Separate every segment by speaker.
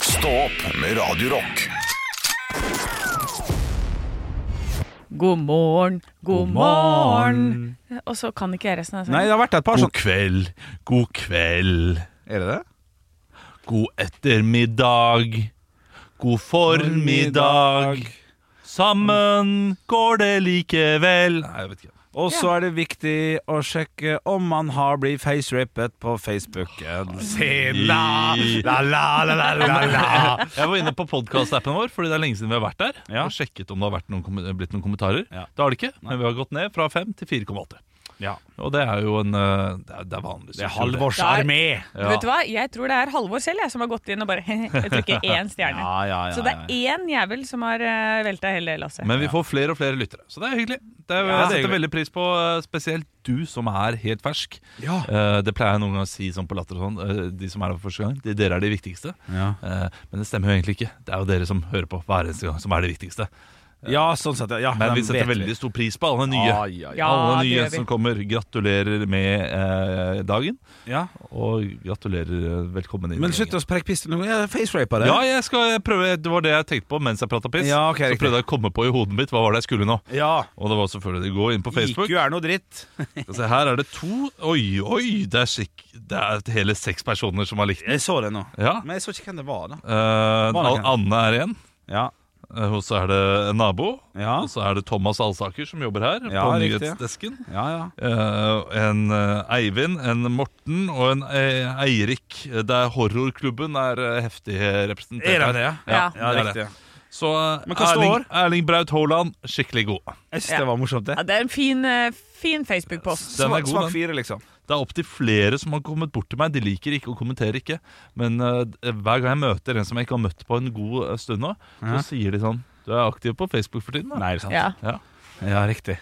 Speaker 1: Stå opp med Radio Rock.
Speaker 2: God morgen, god morgen. Og så kan ikke jeg resten altså. av
Speaker 3: Nei,
Speaker 2: sangen.
Speaker 3: det har vært et par
Speaker 4: God
Speaker 3: sånn
Speaker 4: kveld, god kveld.
Speaker 3: Er det det?
Speaker 4: God ettermiddag. God formiddag. Sammen går det likevel. Nei, jeg vet ikke.
Speaker 3: Og så er det viktig å sjekke om man har blitt facerapet på Facebooken. Se
Speaker 4: la, la,
Speaker 3: la, la,
Speaker 4: Jeg var inne på podkastappen vår, fordi det er lenge siden vi har vært der.
Speaker 3: Ja.
Speaker 4: Og sjekket om det har vært noen, kom- blitt noen kommentarer.
Speaker 3: Ja.
Speaker 4: Det har det ikke, men vi har gått ned fra 5 til 4,8.
Speaker 3: Ja.
Speaker 4: Og det er jo en eh, Det er, det er vanlig.
Speaker 3: Det er
Speaker 4: sykdom, det.
Speaker 3: Halvors armé.
Speaker 4: Ja.
Speaker 2: Vet du hva? Jeg tror det er Halvor selv jeg, som har gått inn og bare Jeg trykker én stjerne.
Speaker 3: Ja, ja, ja,
Speaker 2: Så det er én jævel som har uh, velta hele lasset.
Speaker 4: Men vi får flere og flere lyttere, så det er hyggelig. Det er,
Speaker 3: Ja,
Speaker 4: jeg
Speaker 3: det er
Speaker 4: setter
Speaker 3: hyggelig.
Speaker 4: veldig pris på eh, spesielt du som er helt fersk.
Speaker 3: Ja.
Speaker 4: Eh, det pleier jeg noen ganger å si sånn på latter og sånn. eh, de som er her for første gang, de, dere er de viktigste.
Speaker 3: Ja.
Speaker 4: Eh, men det stemmer jo egentlig ikke. Det er jo dere som hører på hver eneste gang, som er det viktigste.
Speaker 3: ja, sånn sett. Ja,
Speaker 4: Men vi
Speaker 3: den
Speaker 4: setter
Speaker 3: vet vi.
Speaker 4: veldig stor pris på alle nye.
Speaker 3: Ja, ja, ja.
Speaker 2: Ja,
Speaker 4: alle
Speaker 2: det
Speaker 4: nye
Speaker 2: gjør vi.
Speaker 4: som kommer. Gratulerer med eh, dagen,
Speaker 3: Ja.
Speaker 4: og gratulerer eh, velkommen inn. i
Speaker 3: Men slutt
Speaker 4: gjengen.
Speaker 3: å sprekke pistolen. Jeg facerapa deg.
Speaker 4: Ja, jeg skal prøve Det var det jeg tenkte på mens jeg prata piss.
Speaker 3: Ja, ok,
Speaker 4: så
Speaker 3: riktig.
Speaker 4: prøvde jeg å komme på i hodet mitt hva var det jeg skulle nå.
Speaker 3: ja.
Speaker 4: Og det var selvfølgelig å gå inn på Facebook.
Speaker 3: IQ er noe dritt.
Speaker 4: Skal se, her er det to Oi, oi, det er, skikk, det er hele seks personer som har likt den.
Speaker 3: Jeg så det nå.
Speaker 4: Ja.
Speaker 3: Men jeg så ikke hvem det var, da.
Speaker 4: Eh, Al- Anne er en.
Speaker 3: Ja.
Speaker 4: Eh, Og så er det en nabo.
Speaker 3: Ja.
Speaker 4: Og så er det Thomas Alsaker som jobber her
Speaker 3: Ja,
Speaker 4: på
Speaker 3: riktig.
Speaker 4: nyhetsdesken.
Speaker 3: Ja, ja.
Speaker 4: Eh, en eh, Eivind, en Morten og en eh, Eirik. Der horrorklubben er eh, heftig representert.
Speaker 3: Er det
Speaker 4: her.
Speaker 3: det?
Speaker 4: Ja,
Speaker 3: Ja,
Speaker 4: det er
Speaker 3: riktig.
Speaker 4: det. Så eh,
Speaker 3: Men hva står?
Speaker 4: Erling, Erling Braut Haaland, skikkelig god.
Speaker 3: Jeg syns
Speaker 2: Ja.
Speaker 3: det var morsomt,
Speaker 2: Ja,
Speaker 3: det.
Speaker 2: det er en fin, eh, fin Facebook-post.
Speaker 4: Den er
Speaker 3: Smak,
Speaker 4: god,
Speaker 3: smak
Speaker 4: den.
Speaker 3: fire, liksom.
Speaker 4: Det er opptil flere som har kommet bort til meg. De liker ikke og kommenterer ikke. Men eh, hver gang jeg møter en som jeg ikke har møtt på en god eh, stund nå,
Speaker 3: Ja.
Speaker 4: så sier de sånn Du er aktiv på Facebook for tiden, da.
Speaker 3: Mhm. Nei, er det sant?
Speaker 2: Ja.
Speaker 4: Ja.
Speaker 3: Ja, riktig.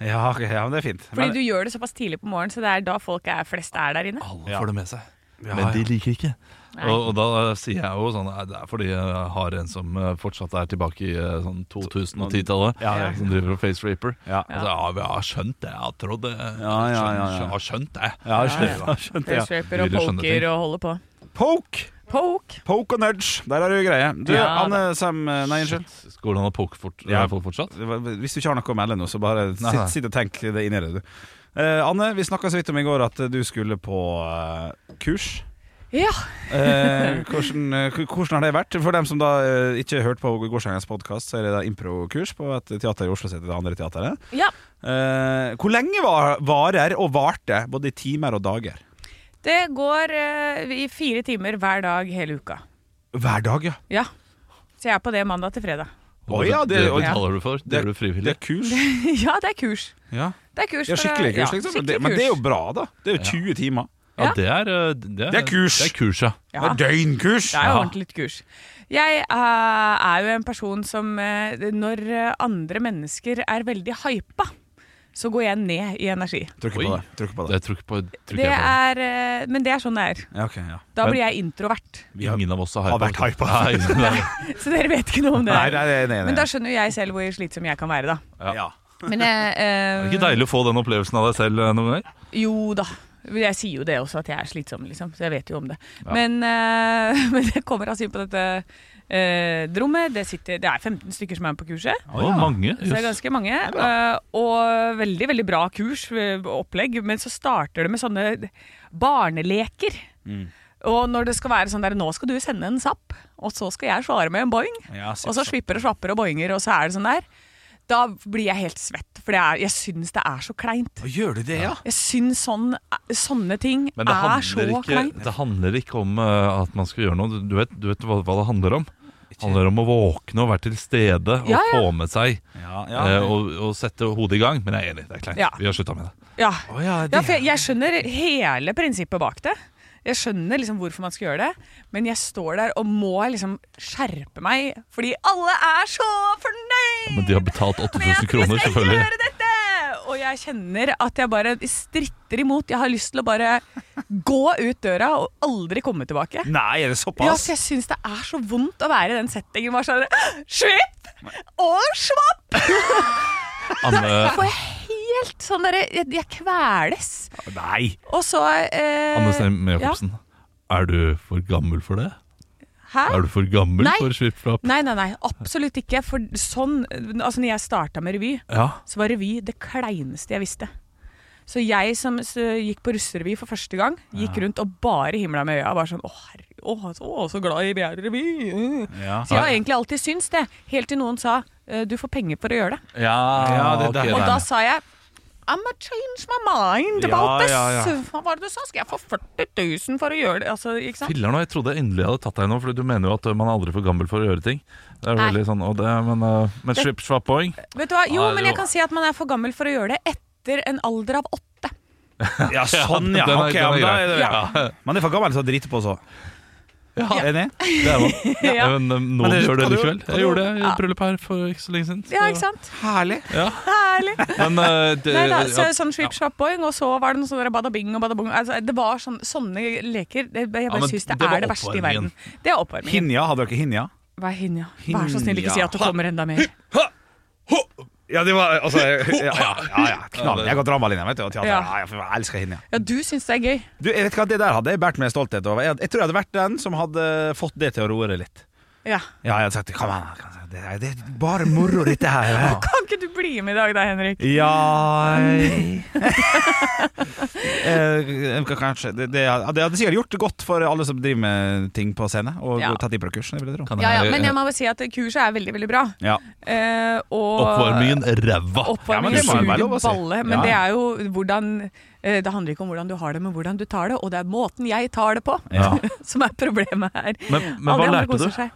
Speaker 3: Ja, ok, ja, men det er fint.
Speaker 2: Fordi
Speaker 3: Men-
Speaker 2: du gjør det såpass tidlig på morgenen, så det er da folk er flest er der inne.
Speaker 4: Alle
Speaker 3: Ja.
Speaker 4: får det med seg.
Speaker 3: Ja,
Speaker 4: Men de
Speaker 3: ja.
Speaker 4: liker ikke.
Speaker 2: Nei.
Speaker 4: Og, og da eh, sier jeg jo sånn «Nei, Det er fordi jeg har en som eh, fortsatt er tilbake i eh, sånn 2010-tallet.
Speaker 3: Ja, det er
Speaker 4: Som driver og face raper.
Speaker 3: Ja.
Speaker 4: Altså, ja, vi har skjønt det. Jeg har trodd det.
Speaker 3: Ja, ja, ja, ja.
Speaker 4: Skjønt- Har skjønt det.
Speaker 3: Ja, jeg
Speaker 2: Ja,
Speaker 3: skjønner, jeg skjønte det.
Speaker 2: Raper og
Speaker 4: Ville skjønne ting.
Speaker 2: poker og holder på.
Speaker 3: Poke!
Speaker 2: Poke!
Speaker 3: Poke og nudge. Der er det jo greie. Du,
Speaker 2: Ja,
Speaker 3: Anne Sam Eh, Nei, unnskyld.
Speaker 4: Shit. Går det an å poke fort,
Speaker 3: Ja.
Speaker 4: folk fortsatt?
Speaker 3: Det var- Hvis du ikke har noe å melde nå, så bare
Speaker 4: Nei, nei.
Speaker 3: sitt, sitt og tenk det inn i det, du. Eh, Anne, vi snakka så vidt om i går at eh, du skulle på eh, kurs.
Speaker 2: Ja.
Speaker 3: Eh, hvordan, eh, k- hvordan har det vært? For dem som da eh, ikke hørte på gårsdagens podkast, så er det da improkurs på et teater i Oslo som heter Det andre teateret.
Speaker 2: ja.
Speaker 3: Eh, hvor lenge var, varer og varte, både i timer og dager?
Speaker 2: Det går eh, i fire timer hver dag hele uka.
Speaker 3: Hver dag, ja.
Speaker 2: Ja. Så jeg er på det mandag til fredag.
Speaker 3: Å ja, det-
Speaker 4: det,
Speaker 3: og-
Speaker 4: betaler du for. Det gjør du frivillig.
Speaker 3: Det er kurs.
Speaker 2: ja, det er kurs.
Speaker 3: Ja,
Speaker 2: Det er kurs
Speaker 3: ja
Speaker 2: for-
Speaker 3: skikkelig kurs,
Speaker 2: ja,
Speaker 3: liksom.
Speaker 2: skikkelig
Speaker 3: det, men
Speaker 2: kurs.
Speaker 3: det er jo bra, da. Det er jo 20 timer.
Speaker 4: Ja,
Speaker 2: Ja.
Speaker 4: det er, eh, det,
Speaker 3: Det er kurs.
Speaker 4: Det er kurs, ja.
Speaker 2: Ja.
Speaker 3: Det er døgnkurs!
Speaker 2: Det er jo
Speaker 4: Ja.
Speaker 2: ordentlig et kurs. Jeg eh, er jo en person som eh, Når eh, andre mennesker er veldig hypa, så går jeg ned i energi.
Speaker 3: Trykk på
Speaker 4: Oi.
Speaker 3: det. Trykk på det.
Speaker 4: Det tror ikke på, tror ikke
Speaker 2: Det
Speaker 4: jeg
Speaker 2: er,
Speaker 4: på.
Speaker 2: eh, men det er sånn det er.
Speaker 3: Ja, ok, ja.
Speaker 2: Da
Speaker 4: Men-
Speaker 2: blir jeg introvert.
Speaker 3: Vi har,
Speaker 4: Ingen av oss har,
Speaker 3: har
Speaker 4: hypa.
Speaker 3: vært hypa.
Speaker 4: Nei, nei.
Speaker 2: Så dere vet ikke noe om det.
Speaker 3: Nei,
Speaker 2: her.
Speaker 3: nei, nei, nei, nei.
Speaker 2: Men da skjønner jo jeg selv hvor slitsom jeg kan være, da.
Speaker 3: ja.
Speaker 2: Men jeg, eh,
Speaker 4: Er det ikke deilig å få den opplevelsen av deg selv eh, noen ganger?
Speaker 2: Jo da. Jeg sier jo det også, at jeg er slitsom, liksom. Så jeg vet jo om det. Men, eh, men det kommer altså inn på dette eh, rommet. Det, sitter, det er 15 stykker som er med på kurset.
Speaker 4: Å, mange.
Speaker 2: Så det er
Speaker 4: Jøss.
Speaker 2: ganske mange. eh, og veldig veldig bra kurs eh, opplegg. Men så starter det med sånne barneleker. Og når det skal være sånn der Nå skal du sende en zapp, og så skal jeg svare med en boing.
Speaker 3: Ja, sitt
Speaker 2: og så
Speaker 3: zapp.
Speaker 2: slipper og slapper og boinger, og så er det sånn der. Da blir jeg helt svett, for det er, jeg syns det er så kleint.
Speaker 3: Å, Gjør du det, ja?
Speaker 2: Jeg syns sånn, sånne ting
Speaker 4: Men det
Speaker 2: er så
Speaker 4: handler, ikke,
Speaker 2: kleint.
Speaker 4: det handler ikke om eh, at man skal gjøre noe. Du- Du vet, du vet hva, hva det handler om? Det handler om å våkne og være til stede og
Speaker 2: Ja, ja.
Speaker 4: få med seg.
Speaker 3: Ja, ja.
Speaker 4: eh, og, og sette hodet i gang. Men jeg er enig, det er kleint.
Speaker 2: Ja.
Speaker 4: Vi har slutta med det.
Speaker 2: Ja.
Speaker 3: Å, ja, det-
Speaker 2: Ja, for jeg, jeg skjønner hele prinsippet bak det. Jeg skjønner liksom hvorfor man skal gjøre det, men jeg står der og må liksom skjerpe meg, fordi alle er så fornøyd!
Speaker 4: Men de har betalt
Speaker 2: med at
Speaker 4: 8000
Speaker 2: vi
Speaker 4: kroner,
Speaker 2: skal
Speaker 4: selvfølgelig.
Speaker 2: gjøre dette! Og jeg kjenner at jeg bare stritter imot. Jeg har lyst til å bare gå ut døra og aldri komme tilbake.
Speaker 3: Nei, er det
Speaker 2: Ja,
Speaker 3: såpass?
Speaker 2: så jeg syns det er så vondt å være i den settingen. Bare sånn Svipp og svapp! Da
Speaker 4: Anne,
Speaker 2: får jeg helt sånn derre jeg, jeg kveles.
Speaker 3: Nei.
Speaker 2: Og så eh,
Speaker 4: Anne Sem
Speaker 2: ja.
Speaker 4: Jacobsen, er du for gammel for det?
Speaker 2: Hæ?
Speaker 4: Er du for gammel
Speaker 2: Nei.
Speaker 4: for svippflapp?
Speaker 2: Nei, nei, nei, absolutt ikke. For sånn, altså når jeg starta med revy,
Speaker 4: Ja.
Speaker 2: så var revy det kleineste jeg visste. Så jeg som s- gikk på russerevy for første gang, gikk rundt og bare himla med øya. Bare sånn, å herre, å, så, å, så glad i BR-revy. Mm.
Speaker 3: Ja.
Speaker 2: Så jeg har egentlig alltid syntes det, helt til noen sa eh, du får penger for å gjøre det.
Speaker 4: Ja,
Speaker 3: Ja, det
Speaker 4: ok,
Speaker 3: der.
Speaker 2: Og
Speaker 4: nei.
Speaker 2: da sa jeg I'm a change my mind about
Speaker 3: Ja,
Speaker 2: this.
Speaker 3: ja, ja.
Speaker 2: Hva var det du sa? Skal jeg få 40 000 for å gjøre det? Altså, ikke sant?
Speaker 4: Filler'n, og jeg trodde jeg endelig jeg hadde tatt deg nå, for du mener jo at man er aldri for gammel for å gjøre ting. Det er jo
Speaker 2: Nei.
Speaker 4: veldig sånn, og det, men uh, men slipp svappoeng.
Speaker 2: Vet du hva? Jo,
Speaker 4: Ja,
Speaker 2: men
Speaker 4: jo.
Speaker 2: jeg kan si at man er for gammel for å gjøre det etter en alder av åtte.
Speaker 3: Ja, sånn, ja.
Speaker 4: Den er-
Speaker 3: Ok,
Speaker 4: den er
Speaker 3: ja, men da
Speaker 4: grei.
Speaker 3: er det Man er for gammel til å drite på så. Enig?
Speaker 4: Det er man.
Speaker 2: Ja.
Speaker 4: Men um,
Speaker 3: Men
Speaker 4: noen
Speaker 3: det-
Speaker 4: gjør det
Speaker 3: kan du-
Speaker 4: likevel.
Speaker 3: kan
Speaker 4: Jeg
Speaker 3: du-
Speaker 4: gjorde det i
Speaker 2: Ja.
Speaker 4: et bryllup her for ikke så lenge siden. så-
Speaker 2: Ja, ikke sant?
Speaker 3: Herlig.
Speaker 4: Ja.
Speaker 2: Herlig.
Speaker 4: Men uh, det,
Speaker 2: Nei da, så,
Speaker 4: ja,
Speaker 2: sånn Shwip Shop-boing, og så var det noe sånn der badabing og badabong. Altså, det var sånn, sånne leker. Det, jeg bare
Speaker 4: men
Speaker 2: synes det,
Speaker 4: det var
Speaker 2: er det verste i
Speaker 4: oppvarmingen.
Speaker 2: verden. Det er oppvarmingen.
Speaker 3: Hinja, hadde dere hinja?
Speaker 2: Hva er hinja? Vær så snill, ikke si at det
Speaker 3: Hinja.
Speaker 2: kommer enda mer.
Speaker 3: Ja, det var altså Ja, ja, ja, ja knall. Jeg har dramalinja, vet du. Og teater.
Speaker 2: Ja.
Speaker 3: Ja, jeg elsker hinja.
Speaker 2: Ja, du syns det er gøy.
Speaker 3: Du, jeg vet ikke hva Det der hadde jeg båret med stolthet over. Jeg, jeg tror jeg hadde vært den som hadde fått det til å roe det litt.
Speaker 2: Ja.
Speaker 3: Ja, jeg hadde sagt Kom an, kom an, det, er- det er bare moro, dette her.
Speaker 2: Kan ikke du bli med i dag da, Henrik?
Speaker 3: Ja jeg- Eh, Kanskje. Det, det, hadde- det hadde sikkert gjort det godt for alle som driver med ting på scene, og
Speaker 2: Ja.
Speaker 3: tatt impro-kurs. det vil jeg tro.
Speaker 4: kan
Speaker 2: Ja, ja,
Speaker 4: jeg-
Speaker 2: men jeg må bare si at kurset er veldig, veldig bra.
Speaker 3: Ja.
Speaker 2: Eh, og
Speaker 4: Oppvarmingen ræva.
Speaker 3: Ah, Ja, men
Speaker 2: Oppvarming
Speaker 3: det må jo være
Speaker 2: suger
Speaker 3: lov å si.
Speaker 2: balle, men
Speaker 3: Ja.
Speaker 2: det er jo hvordan eh, Det handler ikke om hvordan du har det, men hvordan du tar det. Og det er måten jeg tar det på
Speaker 3: Ja.
Speaker 2: som er problemet her.
Speaker 4: Men, men
Speaker 2: Alle
Speaker 4: hva
Speaker 2: de andre
Speaker 4: lærte du?
Speaker 2: koser seg.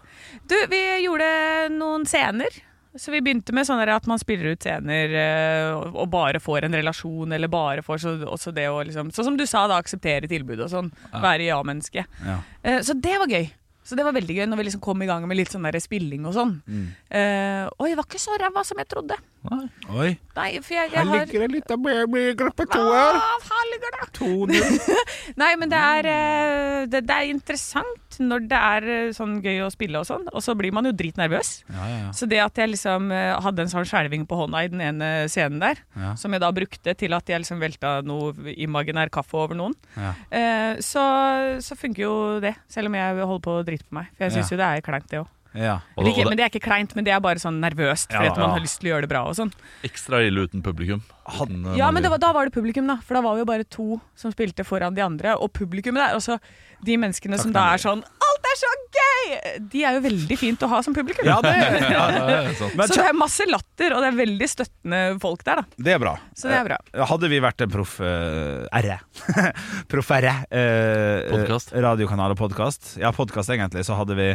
Speaker 2: Du, vi gjorde noen scener. Så vi begynte med sånn der at man spiller ut scener eh, og- og bare får en relasjon, eller bare får så, også det å liksom Sånn som du sa, da akseptere tilbudet og sånn. Være ja-menneske.
Speaker 3: Ja.
Speaker 2: Eh, Så det var gøy. Så det var veldig gøy når vi liksom kom i gang med litt sånn der spilling og sånn.
Speaker 3: Mm.
Speaker 2: Eh, Oi, det var ikke så ræva som jeg trodde.
Speaker 4: Nei.
Speaker 3: Oi.
Speaker 2: Nei, for jeg, jeg
Speaker 3: Her
Speaker 2: har
Speaker 3: ligger det litt av baby i gruppe to her.
Speaker 2: Ah, her ligger det!
Speaker 3: 2-0.
Speaker 2: Nei, men det er, eh, det, det er interessant når det er eh, sånn gøy å spille og sånn, og så blir man jo dritnervøs.
Speaker 3: Ja, ja, ja.
Speaker 2: Så det at jeg liksom eh, hadde en sånn skjelving på hånda i den ene scenen der,
Speaker 3: Ja.
Speaker 2: som jeg da brukte til at jeg liksom velta noe imaginær kaffe over noen,
Speaker 3: Ja.
Speaker 2: eh, så, så funker jo det. Selv om jeg holder på å drite på meg. For jeg syns jo det er kleint, det òg.
Speaker 3: Ja.
Speaker 4: Og det,
Speaker 2: Men
Speaker 4: og det
Speaker 2: det er ikke kleint, men det er bare sånn nervøst fordi
Speaker 3: Ja,
Speaker 2: at man
Speaker 3: ja.
Speaker 2: har lyst til å gjøre det bra og sånn.
Speaker 4: er ekstra ille uten publikum. Uten, uh,
Speaker 2: Ja, men
Speaker 4: Marie.
Speaker 2: det var, da var det publikum, da. For da var vi jo bare to som spilte foran de andre. Og publikummet der, altså de menneskene som da er sånn Alt er så gøy! De er jo veldig fint å ha som publikum.
Speaker 3: ja, det sånn. ja.
Speaker 4: Ja, ja, ja, sant.
Speaker 3: Men
Speaker 2: Så det er masse latter, og det er veldig støttende folk der, da.
Speaker 3: Det er bra.
Speaker 2: Så det er bra.
Speaker 3: Hadde vi vært en proff uh, R. proff R. eh,
Speaker 4: Podcast.
Speaker 3: eh, radiokanal og podkast. Ja, podkast egentlig, så hadde vi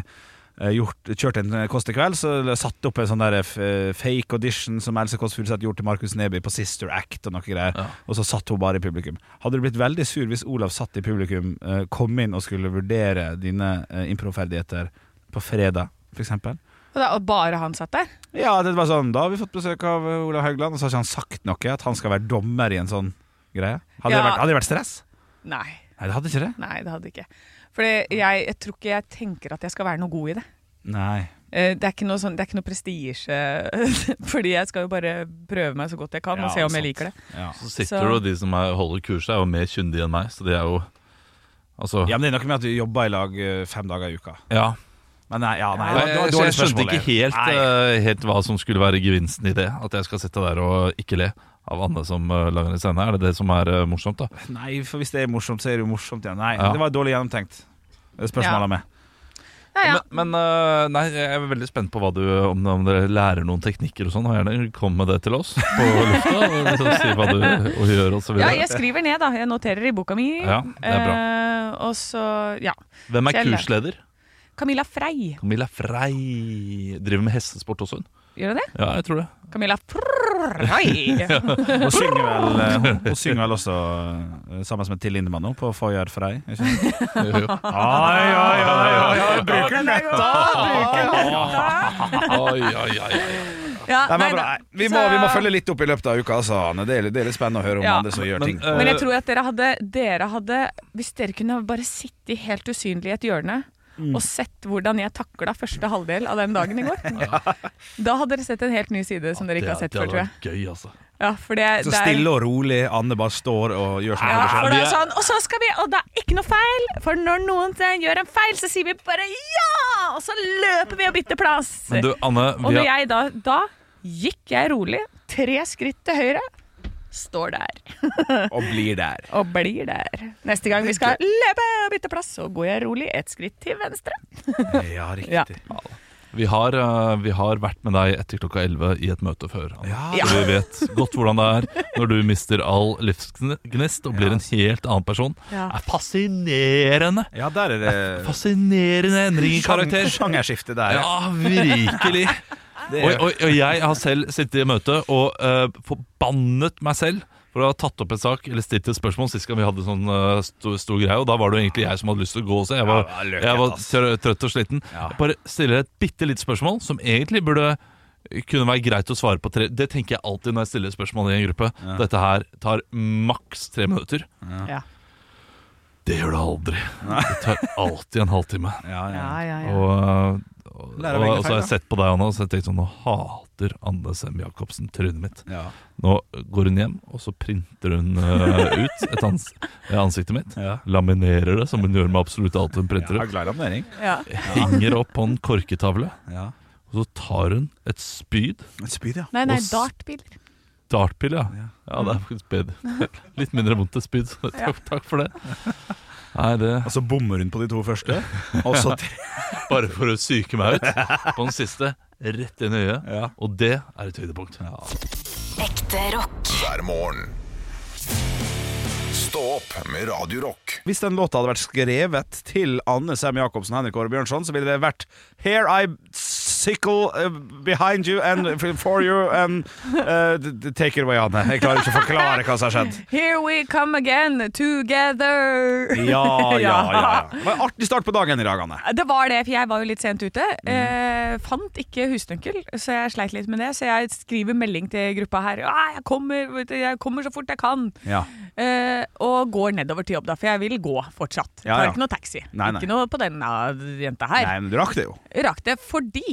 Speaker 3: eh, gjort, kjørt en eh, Kåss til kveld, så satt opp en sånn der eh, f- fake audition som Else Kåss Furuseth gjorde til Markus Neby på Sister Act og noe greier,
Speaker 4: Ja.
Speaker 3: og så satt hun bare i publikum. Hadde du blitt veldig sur hvis Olav satt i publikum, eh, kom inn og skulle vurdere dine eh, improferdigheter på fredag, for eksempel?
Speaker 2: Og, da, og bare han satt der.
Speaker 3: Ja, det var sånn, da har vi fått besøk av eh, Olav Haugland, og så har ikke han sagt noe, at han skal være dommer i en sånn greie. Hadde, det,
Speaker 2: Ja.
Speaker 3: vært, hadde det vært stress?
Speaker 2: Nei,
Speaker 3: Nei, det hadde ikke det.
Speaker 2: nei, det hadde ikke. For jeg, jeg tror ikke jeg tenker at jeg skal være noe god i det.
Speaker 3: Nei.
Speaker 2: Eh, Det er ikke noe, sånn, det er ikke noe prestisje, fordi jeg skal jo bare prøve meg så godt jeg kan,
Speaker 3: Ja,
Speaker 2: og se om jeg
Speaker 3: sant.
Speaker 2: liker det.
Speaker 3: Ja.
Speaker 4: Så sitter
Speaker 2: Så-
Speaker 4: du, og de som er, holder kurset, er jo mer kyndige enn meg, så de er jo Altså,
Speaker 3: ja, men det er noe med at du jobber i lag eh, fem dager i uka.
Speaker 4: ja.
Speaker 3: Men nei, ja, nei,
Speaker 4: Nei,
Speaker 3: det var- det var
Speaker 4: jeg,
Speaker 3: dårlig
Speaker 4: jeg skjønte
Speaker 3: spørsmål,
Speaker 4: ikke
Speaker 3: jeg.
Speaker 4: helt,
Speaker 3: Nei.
Speaker 4: eh, helt hva som skulle være gevinsten i det. At jeg skal sitte der og ikke le av Anne som eh, lager en scene. Er det det som er eh, morsomt, da?
Speaker 3: Nei, for hvis det er morsomt, så er det jo morsomt igjen. Nei,
Speaker 4: Ja.
Speaker 3: det var dårlig gjennomtenkt. Det er Spørsmålet
Speaker 2: Ja.
Speaker 3: med.
Speaker 2: Ja, ja.
Speaker 4: Men, men eh, nei, jeg er veldig spent på hva du, om, om dere lærer noen teknikker og sånn. Og gjerne kom med det til oss på lufta. Og liksom si hva du og gjør og så
Speaker 2: ja,
Speaker 4: videre.
Speaker 2: jeg skriver ned, da. Jeg noterer i boka mi.
Speaker 4: Ja, det er bra.
Speaker 2: Eh, og så, ja.
Speaker 4: Hvem er
Speaker 2: Kjell.
Speaker 4: kursleder?
Speaker 2: Camilla Frey.
Speaker 4: Camilla Frey. Driver med hestesport også, hun.
Speaker 2: Gjør hun det?
Speaker 4: Ja, jeg tror det.
Speaker 2: Camilla Frey.
Speaker 3: Hun synger vel, eh, hun, hun synger vel også eh, sammen med Till Lindemann nå, på Foyer Frei. Oi, oi, oi, oi, oi, bruker nøtta! Bruker nøtta!
Speaker 4: Oi, oi, oi, oi.
Speaker 2: Ja,
Speaker 3: Nei, men
Speaker 2: nei da.
Speaker 3: bra. Nei, vi, må,
Speaker 2: Så-
Speaker 3: vi må følge litt opp i løpet av uka, altså, Anne. Det er, det er litt spennende å høre om
Speaker 2: Ja.
Speaker 3: andre som gjør
Speaker 4: Men,
Speaker 3: ting.
Speaker 4: eh,
Speaker 2: Men jeg tror at dere hadde, dere hadde Hvis dere kunne bare sitte helt usynlig i et hjørne og sett hvordan jeg takla første halvdel av den dagen i går, da hadde dere sett en helt ny side som dere ikke har sett
Speaker 4: det
Speaker 2: før,
Speaker 4: hadde
Speaker 2: tror jeg.
Speaker 4: vært gøy, altså.
Speaker 2: Ja, for det,
Speaker 3: Så
Speaker 2: det er-
Speaker 3: stille og rolig. Anne bare står og gjør som hun
Speaker 2: Ja, for
Speaker 3: gjør.
Speaker 2: det er sånn, og så skal vi, og det er ikke noe feil, for når noen gjør en feil, så sier vi bare ja, og så løper vi og bytter plass.
Speaker 4: Men du, Anne,
Speaker 2: og
Speaker 4: vi
Speaker 2: når
Speaker 4: har,
Speaker 2: jeg da, da gikk jeg rolig, tre skritt til høyre, står der
Speaker 3: Og blir der.
Speaker 2: og blir der. Neste gang vi skal løpe og bytte plass, så går jeg rolig et skritt til venstre.
Speaker 3: Ja,
Speaker 2: Ja.
Speaker 3: riktig.
Speaker 4: vi, har, eh, vi har vært med deg etter klokka 11 i et møte før. Anne.
Speaker 3: Ja.
Speaker 4: Så vi vet godt hvordan det er når du mister all livsgnist og blir en helt annen person.
Speaker 2: Ja.
Speaker 4: Det er fascinerende!
Speaker 3: Ja, der er det
Speaker 4: Fascinerende endring i karakter.
Speaker 3: Sjangerskifte der.
Speaker 4: Ja, virkelig.
Speaker 3: Det
Speaker 4: Og,
Speaker 3: er,
Speaker 4: og, og jeg har selv sittet i møte og eh, forbannet meg selv for å ha tatt opp en sak eller stilt et spørsmål sist gang vi hadde sånn eh, stor, stor greie. Og da var det jo egentlig jeg som hadde lyst til å gå også. Jeg var,
Speaker 3: Ja, det var løken,
Speaker 4: jeg var
Speaker 3: ass.
Speaker 4: trø- trøtt og sliten.
Speaker 3: Ja.
Speaker 4: Jeg bare stiller et bitte lite spørsmål som egentlig burde kunne være greit å svare på tre Det tenker jeg alltid når jeg stiller spørsmål i en gruppe. Dette her tar maks tre minutter.
Speaker 2: Ja,
Speaker 4: Det gjør det aldri. Det tar alltid en halvtime.
Speaker 3: ja, ja.
Speaker 2: ja,
Speaker 4: Og, og, og,
Speaker 3: Lærer av egne
Speaker 4: så har jeg
Speaker 3: feil,
Speaker 4: sett på deg, Anna, og så har jeg tenkt sånn Nå hater Anne Sem Jacobsen trynet mitt.
Speaker 3: ja.
Speaker 4: Nå går hun hjem, og så printer hun eh, ut et ans eh, ansiktet mitt.
Speaker 3: Ja.
Speaker 4: Laminerer det, som hun gjør med absolutt alt hun
Speaker 3: Jeg
Speaker 4: printer
Speaker 3: er
Speaker 4: ut.
Speaker 3: glad i laminering.
Speaker 2: ja.
Speaker 4: Henger opp på en korketavle,
Speaker 3: Ja.
Speaker 4: og så tar hun et spyd.
Speaker 3: Et spyd, ja.
Speaker 2: Nei, nei,
Speaker 4: Og s-
Speaker 2: dartbiler.
Speaker 4: Dartpille, ja.
Speaker 3: Ja.
Speaker 4: Ja, det er faktisk bedre. Litt mindre vondt til spyd, så takk, takk for det. Nei, det
Speaker 3: Og så bommer hun på de to første. Og så tre.
Speaker 4: Bare for å psyke meg ut. På den siste, rett inn i øyet.
Speaker 3: Ja.
Speaker 4: Og det er et høydepunkt.
Speaker 5: Ekte rock.
Speaker 1: hver morgen. Stå opp med Radio Rock.
Speaker 3: Hvis den låta hadde vært skrevet til Anne Sem Jacobsen og Henrik Åre Bjørnson, så ville det vært Here I sickle uh, behind you and for you and uh, d- d- Take it away, Anne. Jeg klarer ikke å forklare hva som har skjedd.
Speaker 2: Here we come again, together.
Speaker 3: Ja, ja, ja. ja. Det var en artig start på dagen i dag, Anne.
Speaker 2: Det var det, for jeg var jo litt sent ute.
Speaker 3: Mhm.
Speaker 2: Eh, fant ikke husnøkkel, så jeg sleit litt med det. Så jeg skriver melding til gruppa her. «Ah, Jeg kommer, vet du, jeg kommer så fort jeg kan.
Speaker 3: Ja.
Speaker 2: Eh, og går nedover til jobb, da, for jeg vil gå fortsatt.
Speaker 3: Ja,
Speaker 2: Tar
Speaker 3: ja.
Speaker 2: ikke noe taxi.
Speaker 3: Nei, nei.
Speaker 2: Ikke noe på denne jenta her.
Speaker 3: Nei, men du rakk det jo.
Speaker 2: Rakk det fordi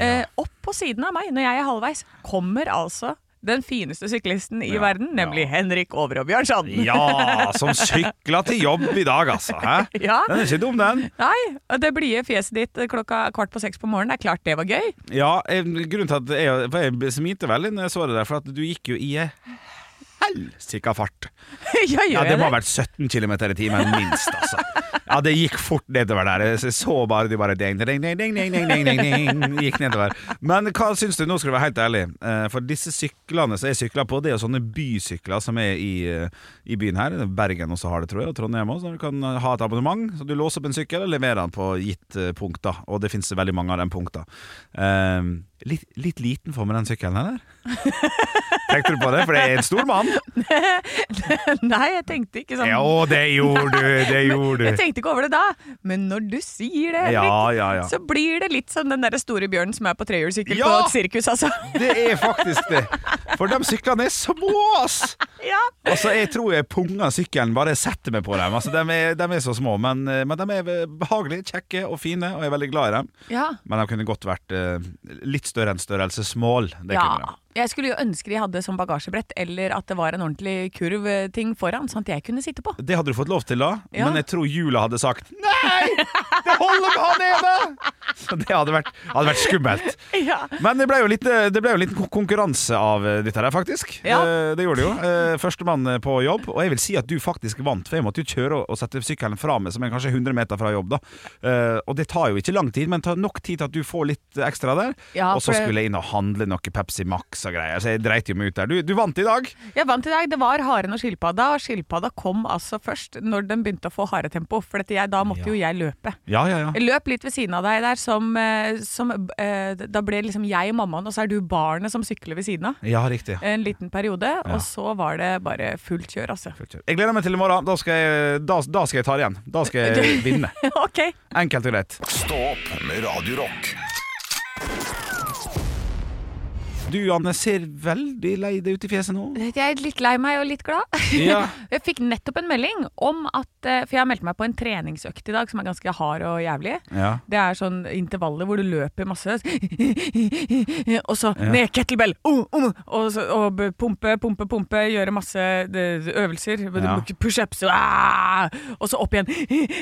Speaker 2: eh, opp på siden av meg, når jeg er halvveis, kommer altså den fineste syklisten i
Speaker 3: Ja,
Speaker 2: verden, nemlig
Speaker 3: ja.
Speaker 2: Henrik Over og Bjørnson.
Speaker 3: Ja, som sykla til jobb i dag, altså. Hæ?
Speaker 2: Ja.
Speaker 3: Den er ikke dum, den.
Speaker 2: Nei, og det blide fjeset ditt klokka kvart på seks på morgenen, det er klart det var gøy.
Speaker 3: Ja, eh, grunnen til at jeg, for jeg smilte veldig når jeg så det der, for at du gikk jo i eh, helsika fart.
Speaker 2: ja, gjør
Speaker 3: Ja, det
Speaker 2: jeg
Speaker 3: må
Speaker 2: det?
Speaker 3: ha vært 17 km i timen, minst, altså. Ja, det gikk fort nedover der. Jeg så bare de bare ding, ding, ding, ding, ding, ding, ding, ding, ding, gikk nedover. Men hva syns du, nå skal du være helt ærlig, eh, for disse syklene som jeg sykler på, det er jo sånne bysykler som er i, eh, i byen her. Bergen også har det, tror jeg, og Trondheim også. Du kan eh, ha et abonnement, så du låser opp en sykkel og leverer den på gitt eh, punkt, da. Og det finnes veldig mange av de punktene. Eh, litt, litt liten for meg, den sykkelen her, der. Tenkte du på det? For det er en stor mann.
Speaker 2: Nei, jeg tenkte ikke sånn.
Speaker 3: Ja, det gjorde du, det gjorde
Speaker 2: Jeg
Speaker 3: du.
Speaker 2: tenkte ikke over det da, men når du sier det, Henrik,
Speaker 3: Ja, ja, ja.
Speaker 2: så blir det litt som den der store bjørnen som er på trehjulssykkel
Speaker 3: Ja!
Speaker 2: på et sirkus, altså.
Speaker 3: Det er faktisk det. For de syklene er små, ass!
Speaker 2: ja.
Speaker 3: Altså, jeg tror jeg punger sykkelen bare jeg setter meg på dem. Altså, de er, de er så små, men, eh, men de er behagelige, kjekke og fine, og jeg er veldig glad i dem.
Speaker 2: Ja.
Speaker 3: Men de kunne godt vært eh, litt større enn størrelse small. Det
Speaker 2: ja.
Speaker 3: kunne de.
Speaker 2: Jeg skulle jo ønske de hadde som bagasjebrett, eller at det var en ordentlig kurvting foran, sånn at jeg kunne sitte på.
Speaker 3: Det hadde du fått lov til da,
Speaker 2: Ja.
Speaker 3: men jeg tror jula hadde sagt Nei! Det holder med han ene! Så det hadde vært, hadde vært skummelt.
Speaker 2: Ja.
Speaker 3: Men det ble jo litt, eh, det ble jo litt kon- konkurranse av eh, dette her, faktisk.
Speaker 2: Ja.
Speaker 3: Eh, Det gjorde det jo. Eh, Førstemann på jobb, og jeg vil si at du faktisk vant. For jeg måtte jo kjøre og- og sette sykkelen fra meg, som er kanskje 100 meter fra jobb. da Eh, Og det tar jo ikke lang tid, men tar nok tid til at du får litt eh, ekstra der.
Speaker 2: Ja,
Speaker 3: og
Speaker 2: for
Speaker 3: så
Speaker 2: det-
Speaker 3: skulle jeg inn og handle noe Pepsi Max og greier, så jeg dreit jo meg ut der. Du, du vant i dag.
Speaker 2: Jeg vant i dag. Det var haren og skilpadda, og skilpadda kom altså først når den begynte å få haretempo, for dette jeg, da måtte jo jeg løpe.
Speaker 3: Ja, ja, ja.
Speaker 2: Jeg løp litt ved siden av deg der, som, eh, som eh, Da ble liksom jeg mammaen, og så er du barnet som sykler ved siden av. eh,
Speaker 3: Ja, riktig.
Speaker 2: En liten periode, og så var det bare fullt kjør, altså.
Speaker 3: Jeg gleder meg til i morgen. Da skal jeg, da, da skal jeg ta det igjen. Da skal jeg vinne.
Speaker 2: ok.
Speaker 3: Enkelt og greit.
Speaker 1: Stå opp med Radio Rock.
Speaker 3: Du, Anne, ser veldig lei deg ut i fjeset nå.
Speaker 2: Jeg er litt lei meg og litt glad.
Speaker 3: Ja.
Speaker 2: Jeg fikk nettopp en melding om at eh, For jeg har meldt meg på en treningsøkt i dag som er ganske hard og jævlig.
Speaker 3: Ja.
Speaker 2: Det er sånn intervaller hvor du løper masse, og så ned kettlebell! Um, um, og, så, og b- pumpe, pumpe, pumpe, gjøre masse det- øvelser.
Speaker 3: Ja.
Speaker 2: Pushups, ah, og så opp igjen.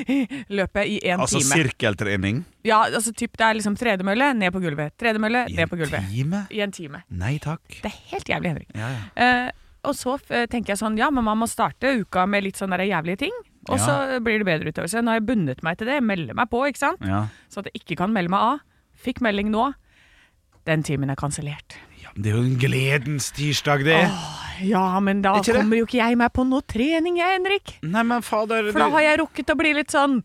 Speaker 2: Løpe i én
Speaker 3: Altså
Speaker 2: time.
Speaker 3: sirkeltrening.
Speaker 2: Ja, altså typ det er liksom tredemølle, ned på gulvet. Tredemølle,
Speaker 3: I
Speaker 2: ned
Speaker 3: en
Speaker 2: på gulvet.
Speaker 3: time?
Speaker 2: I en time.
Speaker 3: Nei takk.
Speaker 2: Det er helt jævlig, Henrik.
Speaker 3: Ja, ja.
Speaker 2: Eh, og så eh, tenker jeg sånn, ja, men man må starte uka med litt sånne der jævlige ting. Og
Speaker 3: Ja.
Speaker 2: så blir det bedre utover. Så nå har jeg bundet meg til det, melder meg på, ikke sant?
Speaker 3: Ja.
Speaker 2: Så at jeg ikke kan melde meg av. Fikk melding nå. Den timen er kansellert.
Speaker 3: Ja, men det er jo en gledens tirsdag, det.
Speaker 2: Ja, men da
Speaker 3: Ikke det?
Speaker 2: kommer jo ikke jeg meg på noe trening, jeg, Henrik.
Speaker 3: Nei, men fader
Speaker 2: For da
Speaker 3: det-
Speaker 2: har jeg rukket å bli litt sånn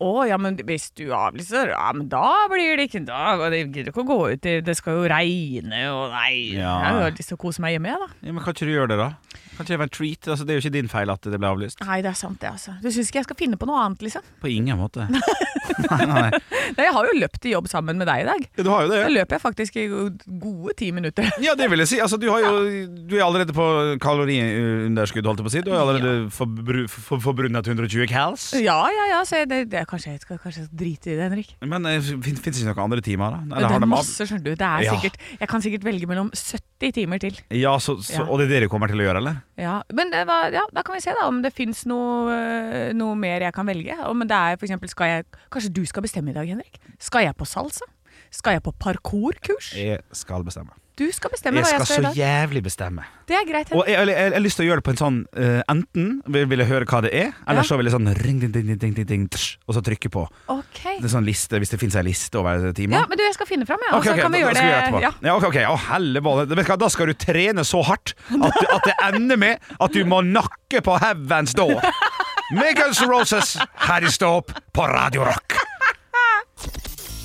Speaker 2: å, ja, men hvis du avlyser, ja, men da blir det ikke Da jeg gidder ikke å gå ut, det, det skal jo regne og Nei.
Speaker 3: Ja.
Speaker 2: Jeg har lyst til å kose meg hjemme, jeg, da.
Speaker 3: ja, Men kan ikke du gjøre det, da? Kan ikke det være en treat? Altså, det er jo ikke din feil at det ble avlyst.
Speaker 2: Nei, det er sant, det, altså. Du syns ikke jeg skal finne på noe annet, liksom?
Speaker 3: På ingen måte. nei, nei.
Speaker 2: Nei, jeg har jo løpt i jobb sammen med deg i dag.
Speaker 3: Ja, du har jo
Speaker 2: Da
Speaker 3: det.
Speaker 2: løper jeg faktisk i gode ti minutter.
Speaker 3: Ja, det vil jeg si. Altså, du, har jo, du er allerede på kaloriunderskudd, holdt jeg på å si. Du har allerede forbru, for, forbrunet 120 cals.
Speaker 2: Ja, ja, ja, så jeg- det, det, kanskje jeg skal kanskje jeg skal drite i det, Henrik.
Speaker 3: Men fins det ikke noen andre timer, da?
Speaker 2: det
Speaker 3: har
Speaker 2: er
Speaker 3: de av-
Speaker 2: masse, skjønner du. Det er
Speaker 3: Ja.
Speaker 2: sikkert, jeg kan sikkert velge mellom 70 timer til.
Speaker 3: Ja, så, så,
Speaker 2: Ja.
Speaker 3: Og det er det dere kommer til å gjøre, eller?
Speaker 2: Ja, men det var, ja, da kan vi se da om det fins noe, øh, noe mer jeg kan velge. Om det er for eksempel, skal jeg, Kanskje du skal bestemme i dag, Henrik? Skal jeg på salsa? Skal jeg på parkourkurs?
Speaker 3: Jeg skal bestemme.
Speaker 2: Du skal bestemme
Speaker 3: Jeg
Speaker 2: hva
Speaker 3: skal
Speaker 2: jeg skal
Speaker 3: så
Speaker 2: i dag.
Speaker 3: jævlig bestemme.
Speaker 2: Det er greit.
Speaker 3: Og
Speaker 2: Henrik.
Speaker 3: jeg, jeg, jeg, jeg har lyst til å gjøre det på en sånn eh, Enten vil, vil jeg høre hva det er, eller
Speaker 2: Ja.
Speaker 3: så vil jeg sånn ring, ding, ding, ding, ding, ding, ding, tsh, Og så trykke på. Det
Speaker 2: Ok.
Speaker 3: er sånn liste, Hvis det fins ei liste over timer.
Speaker 2: Ja, men du, jeg skal finne fram, jeg. Ja, og
Speaker 3: Ok,
Speaker 2: så
Speaker 3: ok,
Speaker 2: kan vi
Speaker 3: da-
Speaker 2: gjøre
Speaker 3: da skal vi
Speaker 2: det.
Speaker 3: etterpå.
Speaker 2: Ja.
Speaker 3: Ja, ok, ok, Å, helleballe. Vet du hva, Da skal du trene så hardt at, du- at det ender med at du må nakke på Heavens Door. Med Guns N' Roses her i Stå opp på Radio Rock.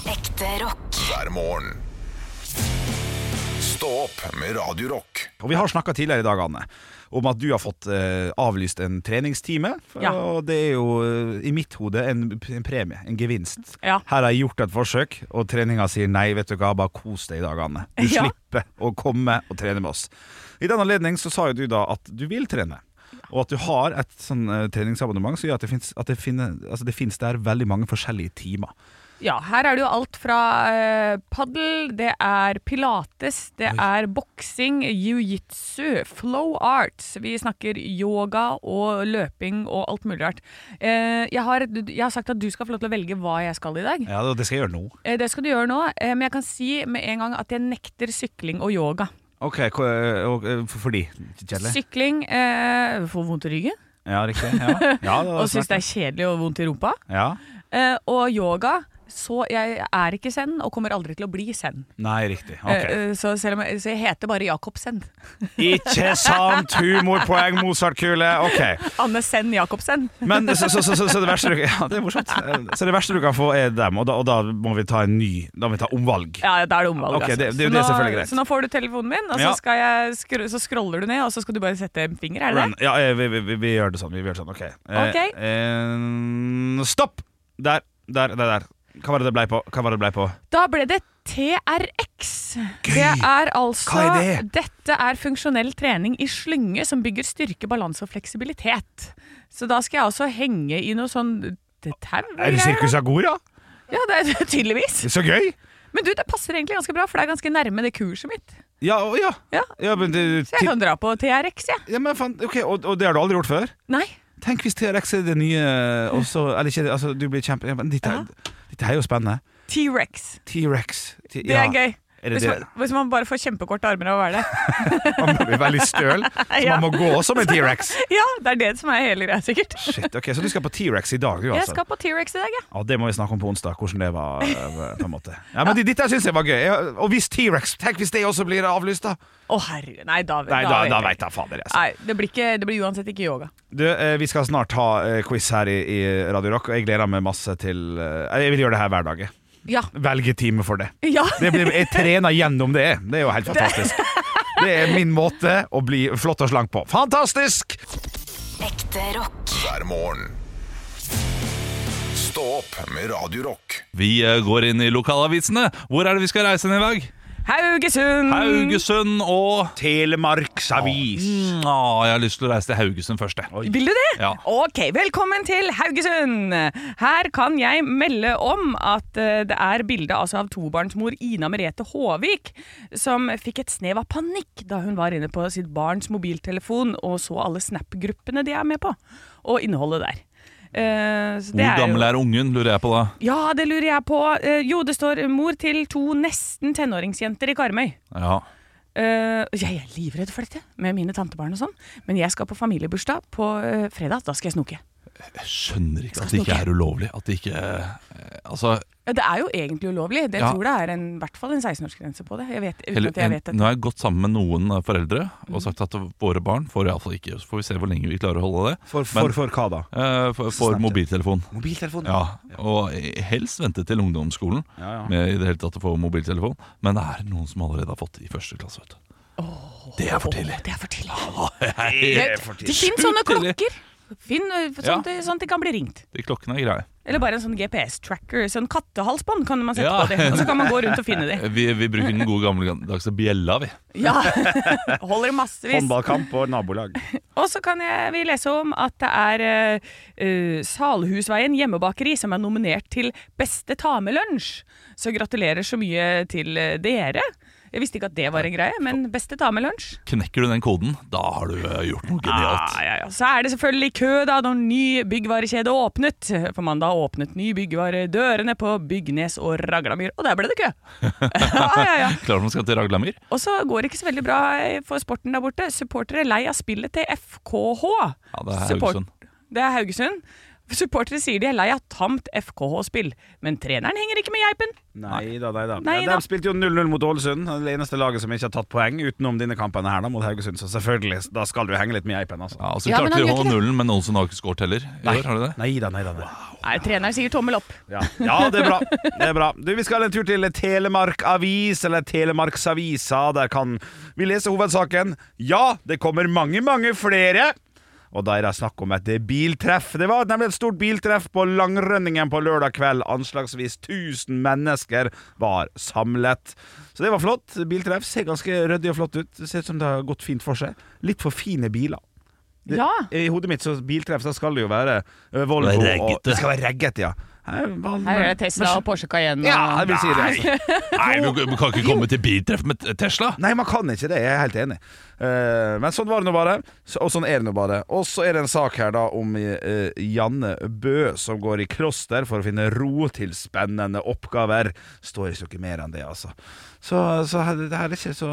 Speaker 5: Ekte rock.
Speaker 1: hver morgen. Stå opp med Radio Rock.
Speaker 3: Og Vi har snakka tidligere i dag, Anne, om at du har fått eh, avlyst en treningstime.
Speaker 2: Ja.
Speaker 3: Og det er jo eh, i mitt hode en, en premie, en gevinst.
Speaker 2: Ja.
Speaker 3: Her har jeg gjort et forsøk, og treninga sier nei, vet du hva, bare kos deg i dag, Anne. Du
Speaker 2: Ja.
Speaker 3: slipper å komme og trene med oss. I den anledning så sa jo du da at du vil trene. Og at du har et sånn eh, treningsabonnement som gjør at det fins at det finner, altså det finnes der veldig mange forskjellige timer.
Speaker 2: Ja, her er det jo alt fra eh, paddel, det er pilates, det er boksing, jiu-jitsu, flow arts. Vi snakker yoga og løping og alt mulig rart. Eh, jeg, har, jeg har sagt at du skal få lov til å velge hva jeg skal i dag.
Speaker 3: Ja, og det skal jeg gjøre nå.
Speaker 2: Eh, det skal du gjøre nå, eh, men jeg kan si med en gang at jeg nekter sykling og yoga.
Speaker 3: Ok, hva- og, eh, for- fordi Kjedelig?
Speaker 2: Sykling eh, får vondt i ryggen
Speaker 3: Ja, riktig. Ja. Ja, det var
Speaker 2: og syns
Speaker 3: snakk
Speaker 2: det er kjedelig og vondt i rumpa.
Speaker 3: om. ja.
Speaker 2: Eh, og yoga, så jeg er ikke zen og kommer aldri til å bli zen.
Speaker 3: Nei, riktig.
Speaker 2: Eh,
Speaker 3: Ok.
Speaker 2: eh, Så, selv om jeg, så jeg heter bare Jacobsen.
Speaker 3: Ikke sant! Humorpoeng, Mozart-kule. Ok.
Speaker 2: Anne Senn Jacobsen.
Speaker 3: Men så, så, så, så, så det verste du Ja, det er morsomt. Eh, Så det verste du kan få, er dem, og da, og da må vi ta en ny Da må vi ta omvalg.
Speaker 2: Ja, ja, da er det omvalg. altså.
Speaker 3: Ok, det- det er jo
Speaker 2: Så
Speaker 3: det
Speaker 2: nå-
Speaker 3: selvfølgelig greit.
Speaker 2: Så nå får du telefonen min, og så,
Speaker 3: Ja.
Speaker 2: skal jeg skru, så scroller du ned, og så skal du bare sette en finger, er det
Speaker 3: Run.
Speaker 2: det?
Speaker 3: Ja, eh, vi, vi, vi, vi gjør det sånn. Vi gjør det sånn. Ok. Eh,
Speaker 2: Ok.
Speaker 3: eh, stopp! Der, der, der. der. Hva var det det blei på? Hva var det det blei på?
Speaker 2: Da ble det TRX. Det er altså
Speaker 3: Hva er
Speaker 2: Dette er funksjonell trening i slynge som bygger styrke, balanse og fleksibilitet. Så da skal jeg også henge i noe sånn det tau?
Speaker 3: Er det
Speaker 2: greier, da.
Speaker 3: Sirkus Agora?
Speaker 2: Ja, det er tydeligvis.
Speaker 3: Så gøy!
Speaker 2: Men du, det passer egentlig ganske bra, for det er ganske nærme det kurset mitt.
Speaker 3: Ja, å, ja.
Speaker 2: Ja.
Speaker 3: ja men, det,
Speaker 2: Så jeg kan dra på TRX, jeg. Ja.
Speaker 3: ja, men faen, ok, og, og det har du aldri gjort før?
Speaker 2: Nei.
Speaker 3: Tenk hvis TRX er det nye og så- Eller ikke, altså du blir kjempe... Ja, men dette, er- dette er jo spennende.
Speaker 2: T-rex.
Speaker 3: T-rex. T-
Speaker 2: Det er
Speaker 3: ja.
Speaker 2: gøy.
Speaker 3: Er det
Speaker 2: Hvis man,
Speaker 3: det?
Speaker 2: hvis man bare får kjempekorte armer av å være det.
Speaker 3: Man blir veldig støl, så
Speaker 2: Ja.
Speaker 3: man må gå som en T-rex.
Speaker 2: Ja, det er det som er hele greia, sikkert.
Speaker 3: Shit, ok, Så du skal på T-rex i dag, du
Speaker 2: Jeg
Speaker 3: altså?
Speaker 2: skal på T-rex i dag, jeg.
Speaker 3: Ja, det må vi snakke om på onsdag, hvordan det var. eh, på en måte Ja, men Dette syns jeg var gøy. Ja, Og hvis T-rex Tenk hvis det også blir avlyst, da!
Speaker 2: Å herregud, nei, da,
Speaker 3: Nei, da, da
Speaker 2: vet jeg.
Speaker 3: veit jeg fader. Altså.
Speaker 2: Nei, det blir, ikke, det blir uansett ikke yoga.
Speaker 3: Du, eh, vi skal snart ha eh, quiz her i, i Radio Rock, og jeg gleder meg masse til eh, Jeg vil gjøre det her hver dag. jeg.
Speaker 2: Ja.
Speaker 3: Velge time for det.
Speaker 2: ja.
Speaker 3: Det blir, jeg trener gjennom det. Det er jo helt fantastisk. Det er min måte å bli flott og slank på. Fantastisk!
Speaker 5: Ekte rock.
Speaker 1: hver morgen. Stå opp med Radio Rock.
Speaker 4: Vi eh, går inn i lokalavisene. Hvor er det vi skal reise ned i dag?
Speaker 2: Haugesund!
Speaker 4: Haugesund og
Speaker 3: Telemarksavis.
Speaker 2: Mm.
Speaker 4: Ah, Jeg har lyst til å reise til Haugesund først, jeg.
Speaker 2: Vil du det?
Speaker 4: Ja.
Speaker 2: Ok, velkommen til Haugesund! Her kan jeg melde om at eh, det er bilde altså, av tobarnsmor Ina Merete Håvik som fikk et snev av panikk da hun var inne på sitt barns mobiltelefon og så alle Snap-gruppene de er med på, og innholdet der. Eh, så det
Speaker 4: Hvor
Speaker 2: jo-
Speaker 4: gammel er ungen, lurer jeg på da.
Speaker 2: Ja, det lurer jeg på. Eh, jo, det står mor til to nesten tenåringsjenter i Karmøy.
Speaker 4: Ja.
Speaker 2: Eh, jeg er livredd for dette med mine tantebarn og sånn, men jeg skal på familiebursdag på eh, fredag. Da skal jeg snoke.
Speaker 4: Jeg skjønner ikke at det ikke er ulovlig. At det ikke eh, Altså,
Speaker 2: Ja, Det er jo egentlig ulovlig. Det
Speaker 4: Ja.
Speaker 2: tror det er en, i hvert fall en 16-årsgrense på det. Jeg vet, uten
Speaker 4: Eller,
Speaker 2: at jeg
Speaker 4: en,
Speaker 2: vet
Speaker 4: nå
Speaker 2: det. Mm.
Speaker 4: har jeg gått sammen med noen eh, foreldre og sagt at våre barn får iallfall ikke Så får vi se hvor lenge vi klarer å holde det.
Speaker 3: For,
Speaker 4: Men-
Speaker 3: for, for hva da?
Speaker 4: Eh, for,
Speaker 3: Snapchat.
Speaker 4: for mobiltelefon.
Speaker 3: Mobiltelefon.
Speaker 4: Ja, og helst vente til ungdomsskolen
Speaker 3: Ja, ja.
Speaker 4: med i det hele tatt å få mobiltelefon. Men det er noen som allerede har fått det i første klasse. Vet du. Det er for tidlig.
Speaker 2: Å, det er for tidlig.
Speaker 4: Nei,
Speaker 2: Det, det finnes sånne
Speaker 4: Sjukt tidlig.
Speaker 2: klokker. Finn, eh,
Speaker 4: Ja.
Speaker 2: sånn, at det, sånn at det kan bli ringt.
Speaker 4: De klokkene er greie.
Speaker 2: Eller bare en sånn GPS-tracker. Sånn kattehalsbånd kan man sette
Speaker 4: Ja.
Speaker 2: på det. Og så kan man gå rundt og finne det.
Speaker 4: Vi, vi bruker den gode gammeldagse bjella, vi.
Speaker 2: Ja, Holder massevis.
Speaker 3: Håndballkamp og nabolag.
Speaker 2: Og så kan jeg, vi lese om at det er eh, eh, Salhusveien hjemmebakeri som er nominert til Beste ta med lunsj. Så gratulerer så mye til eh, dere. Jeg visste ikke at det var en greie, men Beste ta med lunsj.
Speaker 4: Knekker du den koden, da har du eh, gjort noe genialt.
Speaker 2: Ah, ja, ja. Så er det selvfølgelig kø da når ny byggvarekjede åpnet. For mandag åpnet ny byggvare dørene på Bygnes og Raglamyr, og der ble det kø. ja, ja, ja.
Speaker 4: Klart man skal til Raglamyr.
Speaker 2: Og så går det ikke så veldig bra for sporten der borte. Supportere er lei av spillet til FKH.
Speaker 4: Ja, det er
Speaker 2: Support-
Speaker 4: Haugesund.
Speaker 2: Det er Haugesund. Supportere sier de er lei av tamt FKH-spill, men treneren henger ikke med geipen.
Speaker 3: Nei da, nei da.
Speaker 2: Nei
Speaker 3: Ja,
Speaker 2: da.
Speaker 3: De spilte jo 0-0 mot Ålesund. Det eneste laget som ikke har tatt poeng utenom dine kampene her da mot Haugesund. Så selvfølgelig, da skal du henge litt med geipen, altså.
Speaker 4: Ja, altså,
Speaker 2: Ja, men
Speaker 4: klarte
Speaker 2: han
Speaker 4: de å
Speaker 2: gjør ikke
Speaker 4: holde
Speaker 2: det.
Speaker 4: nullen, men Olsen har ikke skåret heller. I år, har de det?
Speaker 3: Nei da, nei da. Nei.
Speaker 2: Nei, treneren sier tommel opp.
Speaker 3: Ja. ja, det er bra. Det er bra. Du, vi skal en tur til Telemark Avis, eller Telemarksavisa. Der kan vi lese hovedsaken. Ja, det kommer mange, mange flere. Og da er det snakk om et biltreff. Det var nemlig et stort biltreff på Langrønningen på lørdag kveld. Anslagsvis 1000 mennesker var samlet. Så det var flott. Biltreff ser ganske ryddig og flott ut. Det ser ut som det har gått fint for seg. Litt for fine biler. Det,
Speaker 2: Ja.
Speaker 3: I hodet mitt så biltreff, så skal det jo være ø, Volvo
Speaker 4: Være
Speaker 3: og
Speaker 4: reggete.
Speaker 3: Det skal være reggete, ja. Her, hva-
Speaker 2: Her er det Tesla og Porsche Cayenne.
Speaker 3: ja, jeg vil si det. altså.
Speaker 4: Nei, du, du kan ikke komme til biltreff med Tesla!
Speaker 3: Nei, man kan ikke det. Jeg er helt enig. Eh, men sånn var det nå bare. Så- Og sånn er det nå bare. Og så er det en sak her da om eh, Janne Bø som går i kloster for å finne ro til spennende oppgaver. Står ikke noe mer enn det, altså. Så, så her, det her er ikke så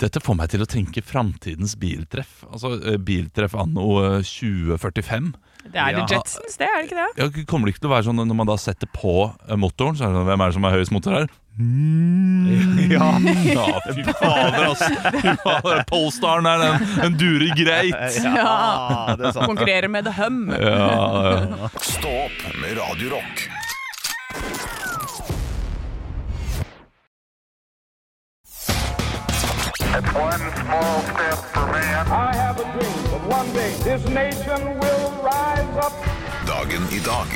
Speaker 4: Dette får meg til å tenke framtidens biltreff. Altså eh, biltreff anno eh, 2045.
Speaker 2: Det er det Jetsons, det er det ikke det?
Speaker 4: Ja, kommer det ikke til å være sånn når man da setter på eh, motoren, så er det sånn Hvem er det som har høyest motor her?
Speaker 3: Ja.
Speaker 4: Ja, fy fader, altså! Fy fader, Polestaren er den, den durer greit!
Speaker 3: ja, det er sant.
Speaker 2: Konkurrerer med The Hum.
Speaker 4: Ja, ja.
Speaker 1: Stå opp med Radio Rock.
Speaker 6: One small step for man. I have a dream that one day this nation will rise up.
Speaker 1: Dagen i dag.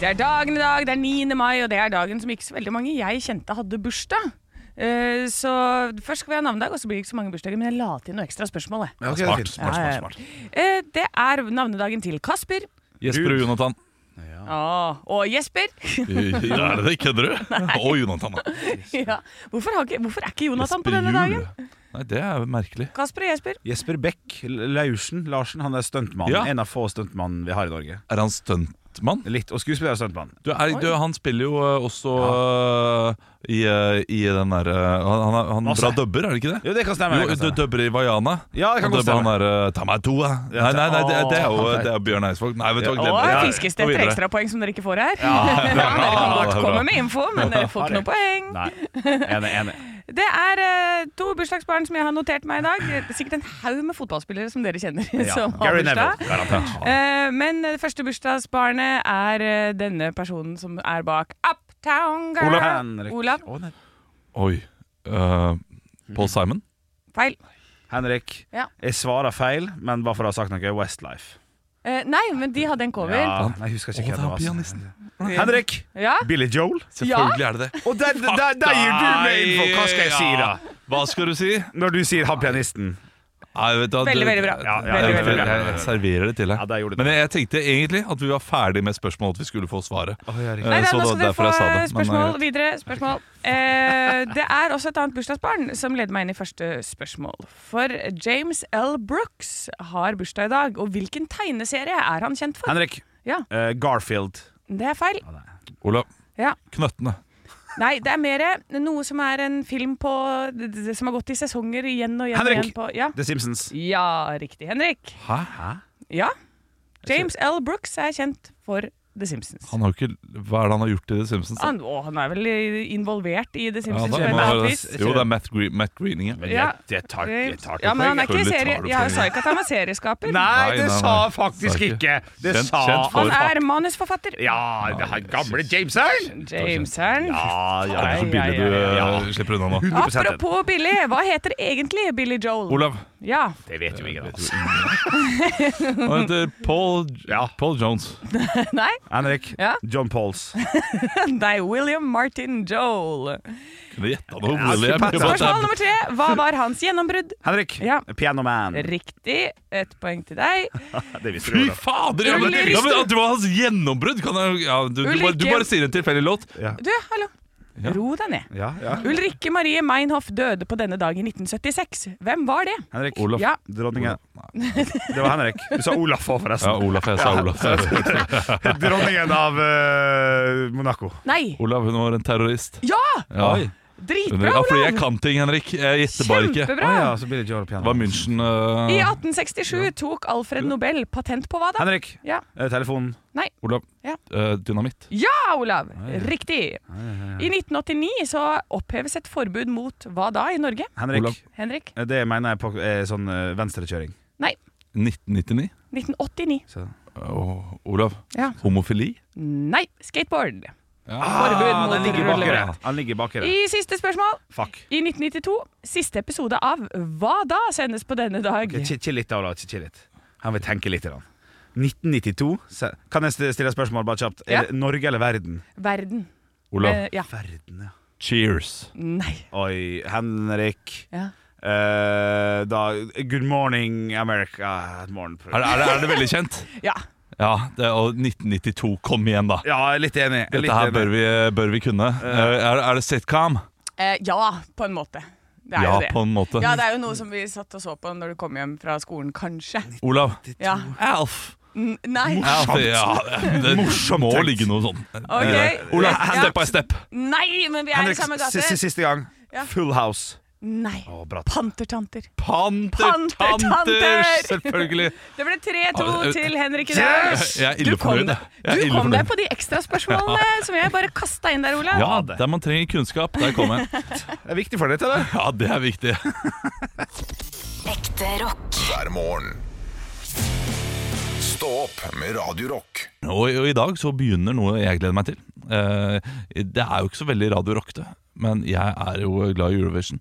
Speaker 2: Det er dagen i dag, det er 9. mai, og det er dagen som ikke så veldig mange jeg kjente hadde bursdag. Eh, Så først skal vi ha navnedag, og så blir det ikke så mange bursdager. Men jeg la til noe ekstra spørsmål. Jeg.
Speaker 3: Ja, ok, det er
Speaker 4: Smart,
Speaker 3: fint.
Speaker 4: smart, smart, smart.
Speaker 2: Eh, Det er navnedagen til Kasper
Speaker 4: Jesper og Jonathan.
Speaker 2: Åh, og Jesper.
Speaker 4: Ja, er det det? Kødder du? Og Jonathan, da.
Speaker 2: ja. hvorfor, har ikke, hvorfor er ikke Jonathan på
Speaker 4: Jesper
Speaker 2: denne
Speaker 4: Juel.
Speaker 2: dagen?
Speaker 4: Nei, det er jo merkelig.
Speaker 2: Kasper og Jesper.
Speaker 3: Jesper Bech Laursen Larsen, han er stuntmann.
Speaker 4: Ja.
Speaker 3: En av få stuntmann vi har i Norge.
Speaker 4: Er han stuntmann?
Speaker 3: Litt, og skuespiller og stuntmann.
Speaker 4: Du, er, du, han spiller jo eh, også eh, i, eh, i den derre Han, han, er- han
Speaker 3: Masse.
Speaker 4: drar dubber, er det ikke det?
Speaker 3: Jo, det kan stemme.
Speaker 4: Jo,
Speaker 3: det kan
Speaker 4: du
Speaker 3: stemme.
Speaker 4: dubber i Vaiana.
Speaker 3: Ja, det
Speaker 4: Han
Speaker 3: kan godt
Speaker 4: dubber
Speaker 3: stemme.
Speaker 4: Han der, eh, Ta meg to, eh. Nei, nei, nei det, det er jo det er Bjørn Eidsvåg. Nei, vet du hva,
Speaker 2: Og
Speaker 4: glem det.
Speaker 2: fiskes det
Speaker 4: Gå
Speaker 2: etter
Speaker 4: videre.
Speaker 2: ekstrapoeng som dere ikke får her.
Speaker 3: Ja,
Speaker 2: dere kan
Speaker 4: det
Speaker 2: godt
Speaker 4: er bra.
Speaker 2: komme med info, men dere får ikke noe poeng.
Speaker 3: Nei, enig, enig.
Speaker 2: Det er eh, to bursdagsbarn som jeg har notert meg i dag. Det er Sikkert en haug med fotballspillere som dere kjenner.
Speaker 3: Ja.
Speaker 2: som har
Speaker 3: Gary
Speaker 2: bursdag.
Speaker 3: Neville, garantert.
Speaker 2: Eh, men det første bursdagsbarnet er eh, denne personen som er bak Uptown Girl.
Speaker 3: Olav Henrik
Speaker 2: Olav.
Speaker 3: Å, nei.
Speaker 4: Oi. eh, Paul Simon?
Speaker 2: Feil.
Speaker 3: Henrik,
Speaker 2: Ja.
Speaker 3: jeg svarer feil, men bare for å ha sagt noe Westlife.
Speaker 2: Eh, nei, men de hadde en cover.
Speaker 3: Ja, nei, jeg husker
Speaker 4: Å,
Speaker 3: ikke
Speaker 4: det
Speaker 3: hvem det
Speaker 4: er
Speaker 3: var. altså.
Speaker 4: pianisten.
Speaker 3: Henrik!
Speaker 2: Ja.
Speaker 3: Billy Joel?
Speaker 4: Selvfølgelig er det det.
Speaker 3: Og der, der, der, gir du meg info! Hva skal jeg si, da?
Speaker 4: Hva skal du si?
Speaker 3: Når du sier han pianisten.
Speaker 4: Nei, vet du hva,
Speaker 2: Veldig,
Speaker 4: du-
Speaker 2: veldig bra.
Speaker 3: Ja, ja,
Speaker 2: veldig,
Speaker 4: Jeg,
Speaker 3: ja,
Speaker 2: veldig
Speaker 3: ja,
Speaker 2: bra.
Speaker 3: ja.
Speaker 4: jeg serverer det til deg.
Speaker 3: Ja, der gjorde du
Speaker 4: men jeg, jeg tenkte egentlig at vi var ferdig med spørsmålet, at vi skulle få svaret.
Speaker 3: ja,
Speaker 4: Eh,
Speaker 3: riktig.
Speaker 2: Nei, nei,
Speaker 4: så
Speaker 2: nå
Speaker 4: det
Speaker 2: skal
Speaker 4: var
Speaker 2: dere
Speaker 4: derfor
Speaker 2: få
Speaker 4: jeg sa det. Men,
Speaker 2: spørsmål
Speaker 4: eh,
Speaker 2: videre. Spørsmål. Eh, det er også et annet bursdagsbarn som leder meg inn i første spørsmål. For James L. Brooks har bursdag i dag, og hvilken tegneserie er han kjent for?
Speaker 3: Henrik.
Speaker 2: Ja,
Speaker 3: eh, Garfield.
Speaker 2: det er feil.
Speaker 4: Olav,
Speaker 2: Ja.
Speaker 4: knøttene.
Speaker 2: Nei, det er mer noe som er en film på det- det som har gått i sesonger igjen og igjen. og
Speaker 3: Henrik!
Speaker 2: Igjen på, ja.
Speaker 3: The Simpsons.
Speaker 2: ja, riktig. Henrik.
Speaker 4: Hæ?
Speaker 2: Ja. James L. Brooks er kjent for The Simpsons.
Speaker 4: Han har jo ikke, hva er det han har gjort i The Simpsons? da?
Speaker 2: Han, å, han er vel involvert i The
Speaker 4: Ja,
Speaker 2: Simpsons
Speaker 4: da
Speaker 2: på et
Speaker 4: må
Speaker 2: eller annet
Speaker 4: være-
Speaker 2: vis.
Speaker 4: jo, det er Matt, Gre Matt Greening. Ja.
Speaker 2: Ja.
Speaker 3: Jeg, jeg tar, jeg tar
Speaker 2: Ja, men han er
Speaker 3: poenget.
Speaker 2: ikke
Speaker 4: Selvfølgelig tar
Speaker 2: serie...
Speaker 4: du
Speaker 2: Jeg har-
Speaker 4: poenget.
Speaker 2: sa ikke at han var serieskaper.
Speaker 3: Nei,
Speaker 4: Nei,
Speaker 3: det
Speaker 4: nei,
Speaker 3: sa
Speaker 4: nei. Sa
Speaker 3: faktisk
Speaker 4: ikke.
Speaker 3: ikke! Det
Speaker 4: Kjent-
Speaker 3: sa
Speaker 4: kjent for-
Speaker 2: han er manusforfatter.
Speaker 3: Ja, det her gamle Jameseren!
Speaker 2: Jamesern.
Speaker 3: Ja, ja,
Speaker 4: Det er
Speaker 2: Ai,
Speaker 4: så billig
Speaker 2: ai,
Speaker 4: du
Speaker 2: ai,
Speaker 4: eh, slipper unna nå.
Speaker 3: 100
Speaker 2: Apropos Billy, hva heter egentlig Billy Joel?
Speaker 4: Olav.
Speaker 2: Ja,
Speaker 3: Det vet jo ingen av oss.
Speaker 4: Han heter Paul,
Speaker 3: Ja.
Speaker 4: Paul Jones.
Speaker 2: nei,
Speaker 3: Henrik.
Speaker 2: Ja.
Speaker 3: John Pauls.
Speaker 2: nei, William Martin Joel.
Speaker 4: Kunne gjetta noe.
Speaker 3: Ja,
Speaker 4: William.
Speaker 3: supert.
Speaker 4: Bare
Speaker 2: Spørsmål
Speaker 4: at
Speaker 2: nummer tre. Hva var hans gjennombrudd?
Speaker 3: Henrik.
Speaker 2: Ja.
Speaker 3: Piano Man.
Speaker 2: Riktig. Ett poeng til deg.
Speaker 3: Det visste
Speaker 4: Fy
Speaker 3: du godt.
Speaker 4: fader! Ja, men,
Speaker 2: Ulrikke.
Speaker 4: ja, men, at det var hans gjennombrudd! Kan jeg, ja, du, du, bare, du
Speaker 2: Ulrikke.
Speaker 4: bare sier en tilfeldig låt.
Speaker 2: Du, hallo.
Speaker 4: Ja.
Speaker 2: Ro deg ned.
Speaker 3: Ja, ja.
Speaker 2: Ulrikke Marie Meinhof døde på denne dag i 1976. Hvem var det?
Speaker 3: Henrik.
Speaker 4: Olaf.
Speaker 2: Ja.
Speaker 3: Dronningen. Det var Henrik. Du sa Olaf òg,
Speaker 4: Ja,
Speaker 3: forresten.
Speaker 4: Olaf. Jeg sa Olaf.
Speaker 3: Dronningen av eh, Monaco.
Speaker 2: Nei.
Speaker 4: Olav, hun var en terrorist.
Speaker 2: Ja!
Speaker 4: Ja.
Speaker 2: Dritbra,
Speaker 4: Ja, fordi jeg
Speaker 2: Olav.
Speaker 4: kan ting, Henrik. Jeg gjetter bare ikke.
Speaker 2: Kjempebra.
Speaker 3: så blir det ikke
Speaker 4: Det var München
Speaker 2: I
Speaker 4: eh,
Speaker 2: 1867 tok Alfred Nobel patent på hva da?
Speaker 3: Henrik.
Speaker 2: Ja.
Speaker 3: eh, Telefonen.
Speaker 4: Olav.
Speaker 2: Ja.
Speaker 4: eh, dynamitt.
Speaker 2: ja, Olav! Riktig. I 1989 så oppheves et forbud mot hva da i Norge?
Speaker 3: Henrik.
Speaker 4: Olav.
Speaker 2: Henrik?
Speaker 3: Eh, Det mener jeg på, er sånn eh, venstrekjøring.
Speaker 2: Nei.
Speaker 4: 1999.
Speaker 2: 1989.
Speaker 3: Så.
Speaker 4: Åh, Olav.
Speaker 2: Ja.
Speaker 4: Homofili?
Speaker 2: Nei. Skateboard.
Speaker 4: Ja.
Speaker 2: Forbud
Speaker 3: Ah, den
Speaker 2: mot
Speaker 3: ligger bak
Speaker 2: rullebrett.
Speaker 3: dere. Han ligger bak dere.
Speaker 2: I siste spørsmål.
Speaker 3: Fuck.
Speaker 2: I 1992, siste episode av Hva da sendes på denne dag?
Speaker 3: Ok, Chill chill litt, da, Ola. Chill- Chill litt. Han vil tenke litt. Da. 1992. se- Kan jeg stille et spørsmål bare kjapt?
Speaker 2: Ja.
Speaker 3: Er det Norge eller verden?
Speaker 2: Verden.
Speaker 4: Olav.
Speaker 2: Eh, ja.
Speaker 3: Verden, ja.
Speaker 4: Cheers.
Speaker 2: Nei.
Speaker 3: Oi, Henrik.
Speaker 2: Ja.
Speaker 3: Eh, da, good morning, America. Et
Speaker 4: Er
Speaker 3: morgenprogram.
Speaker 4: det, er, det, er det veldig kjent?
Speaker 2: ja.
Speaker 4: Ja. Det, er- og 1992. Kom igjen, da.
Speaker 3: Ja, jeg er litt enig. Jeg er
Speaker 4: Dette
Speaker 3: litt
Speaker 4: her
Speaker 3: enig.
Speaker 4: bør vi, bør vi kunne. Eh, Er, er det sitcom?
Speaker 2: Eh, ja, på en måte. Det er
Speaker 4: Ja,
Speaker 2: jo det.
Speaker 4: på en måte.
Speaker 2: Ja, det er jo noe som vi satt og så på når du kom hjem fra skolen, kanskje.
Speaker 4: Olav.
Speaker 2: Ja.
Speaker 4: Alf.
Speaker 2: N- Nei.
Speaker 4: Alf ja, det det må
Speaker 3: tenkt.
Speaker 4: ligge noe sånn.
Speaker 2: Ok.
Speaker 4: Olav,
Speaker 2: Ja.
Speaker 4: step by step.
Speaker 2: Nei, men vi er i
Speaker 3: Henrik,
Speaker 2: samme
Speaker 3: si- si-
Speaker 2: gate.
Speaker 3: siste gang.
Speaker 2: Ja.
Speaker 3: Full House.
Speaker 2: Nei.
Speaker 3: Å, bra.
Speaker 2: Pantertanter.
Speaker 4: Pantertanter!
Speaker 2: Pantertanter!
Speaker 4: Selvfølgelig.
Speaker 2: Det ble 3-2
Speaker 4: Ah, eh,
Speaker 2: til Henrik i dag.
Speaker 4: Yes! Jeg er
Speaker 2: Du
Speaker 4: ille
Speaker 2: kom
Speaker 4: fornøyd.
Speaker 2: deg-
Speaker 4: jeg. Jeg er
Speaker 2: Du
Speaker 4: ille
Speaker 2: kom deg
Speaker 4: fornøyd.
Speaker 2: på de ekstraspørsmålene som jeg bare kasta inn der, Olav.
Speaker 4: Ja, der man trenger kunnskap, der kom jeg.
Speaker 3: Det er viktig for deg, eller?
Speaker 4: Ja, det er viktig.
Speaker 5: Ekte rock.
Speaker 1: hver morgen. Stå opp med Radio Rock.
Speaker 4: Og, og i dag så begynner noe jeg gleder meg til. Eh, det er jo ikke så veldig Radio Rock, det. Men jeg er jo glad i Eurovision.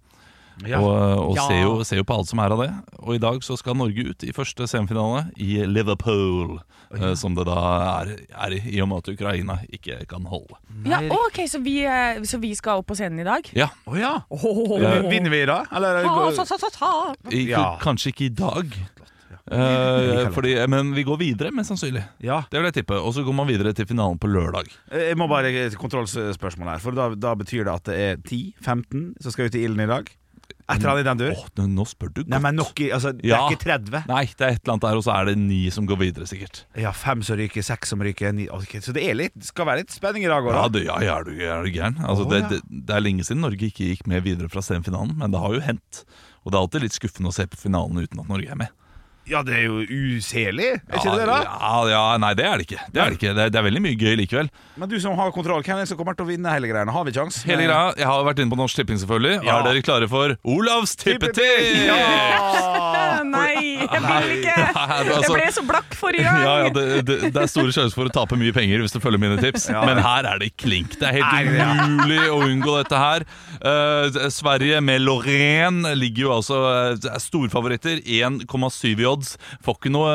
Speaker 3: Ja.
Speaker 4: Og, og
Speaker 2: Ja.
Speaker 4: ser, jo, ser jo på alt som er av det. Og i dag så skal Norge ut i første semifinale i Liverpool. eh, Som det da er, er i, i og med at Ukraina ikke kan holde.
Speaker 2: Ja, OK, så vi, eh, så vi skal opp på scenen i dag?
Speaker 4: Ja,
Speaker 3: Å ja.
Speaker 2: Åh.
Speaker 3: Vinner vi da? Eller
Speaker 2: Ta, ta, ta, ta, ta.
Speaker 4: i,
Speaker 3: Ja.
Speaker 4: Kanskje ikke i dag,
Speaker 3: liker
Speaker 4: eh,
Speaker 3: det.
Speaker 4: fordi, men vi går videre, mest sannsynlig.
Speaker 3: Ja.
Speaker 4: Det vil jeg tippe. Og så går man videre til finalen på lørdag.
Speaker 3: Jeg må bare et kontrollspørsmål her. For da, da betyr det at det er 10-15 som skal ut i ilden i dag. Et eller annet i den
Speaker 4: Åh,
Speaker 3: dur.
Speaker 4: nå- nå spør du godt.
Speaker 3: Nei, men nok i Altså, det
Speaker 4: Ja.
Speaker 3: er ikke 30.
Speaker 4: Nei, det er et eller annet der, og så er det ni som går videre, sikkert.
Speaker 3: Ja, fem som ryker, seks som ryker ni, ok, Så det er litt, skal være litt spenning i dag
Speaker 4: Ja,
Speaker 3: òg, da.
Speaker 4: det, ja, ja er, du, er du gæren? Altså,
Speaker 3: Å,
Speaker 4: det,
Speaker 3: ja.
Speaker 4: det, det er lenge siden Norge ikke gikk med videre fra semifinalen, men det har jo hendt. Og det er alltid litt skuffende å se på finalen uten at Norge er med.
Speaker 3: Ja, det er jo uselig, er ikke det det? da?
Speaker 4: Ja, ja, nei, det er det ikke. Det er, det ikke. Det er, det er veldig mye gøy likevel.
Speaker 3: Men du som har kontroll, hvem er det som kommer til å vinne hele greiene? Har vi kjangs?
Speaker 4: Hele greia, Jeg har vært inne på Norsk Tipping, selvfølgelig.
Speaker 3: Ja.
Speaker 4: Er dere klare for Olavs tippeting?
Speaker 3: Ja!
Speaker 2: Eh, Nei, jeg vil ikke! Jeg ble så blakk forrige gang.
Speaker 4: altså- Ja, ja, det, det, det er store sjanser for å tape mye penger hvis du følger mine tips,
Speaker 3: Ja.
Speaker 4: men her er det klink. Det er
Speaker 3: Nei,
Speaker 4: helt
Speaker 3: det er-
Speaker 4: umulig å unngå dette her. Eh, Sverige med Lorraine ligger jo altså eh, er storfavoritter. 1,7 i odds. Får ikke noe,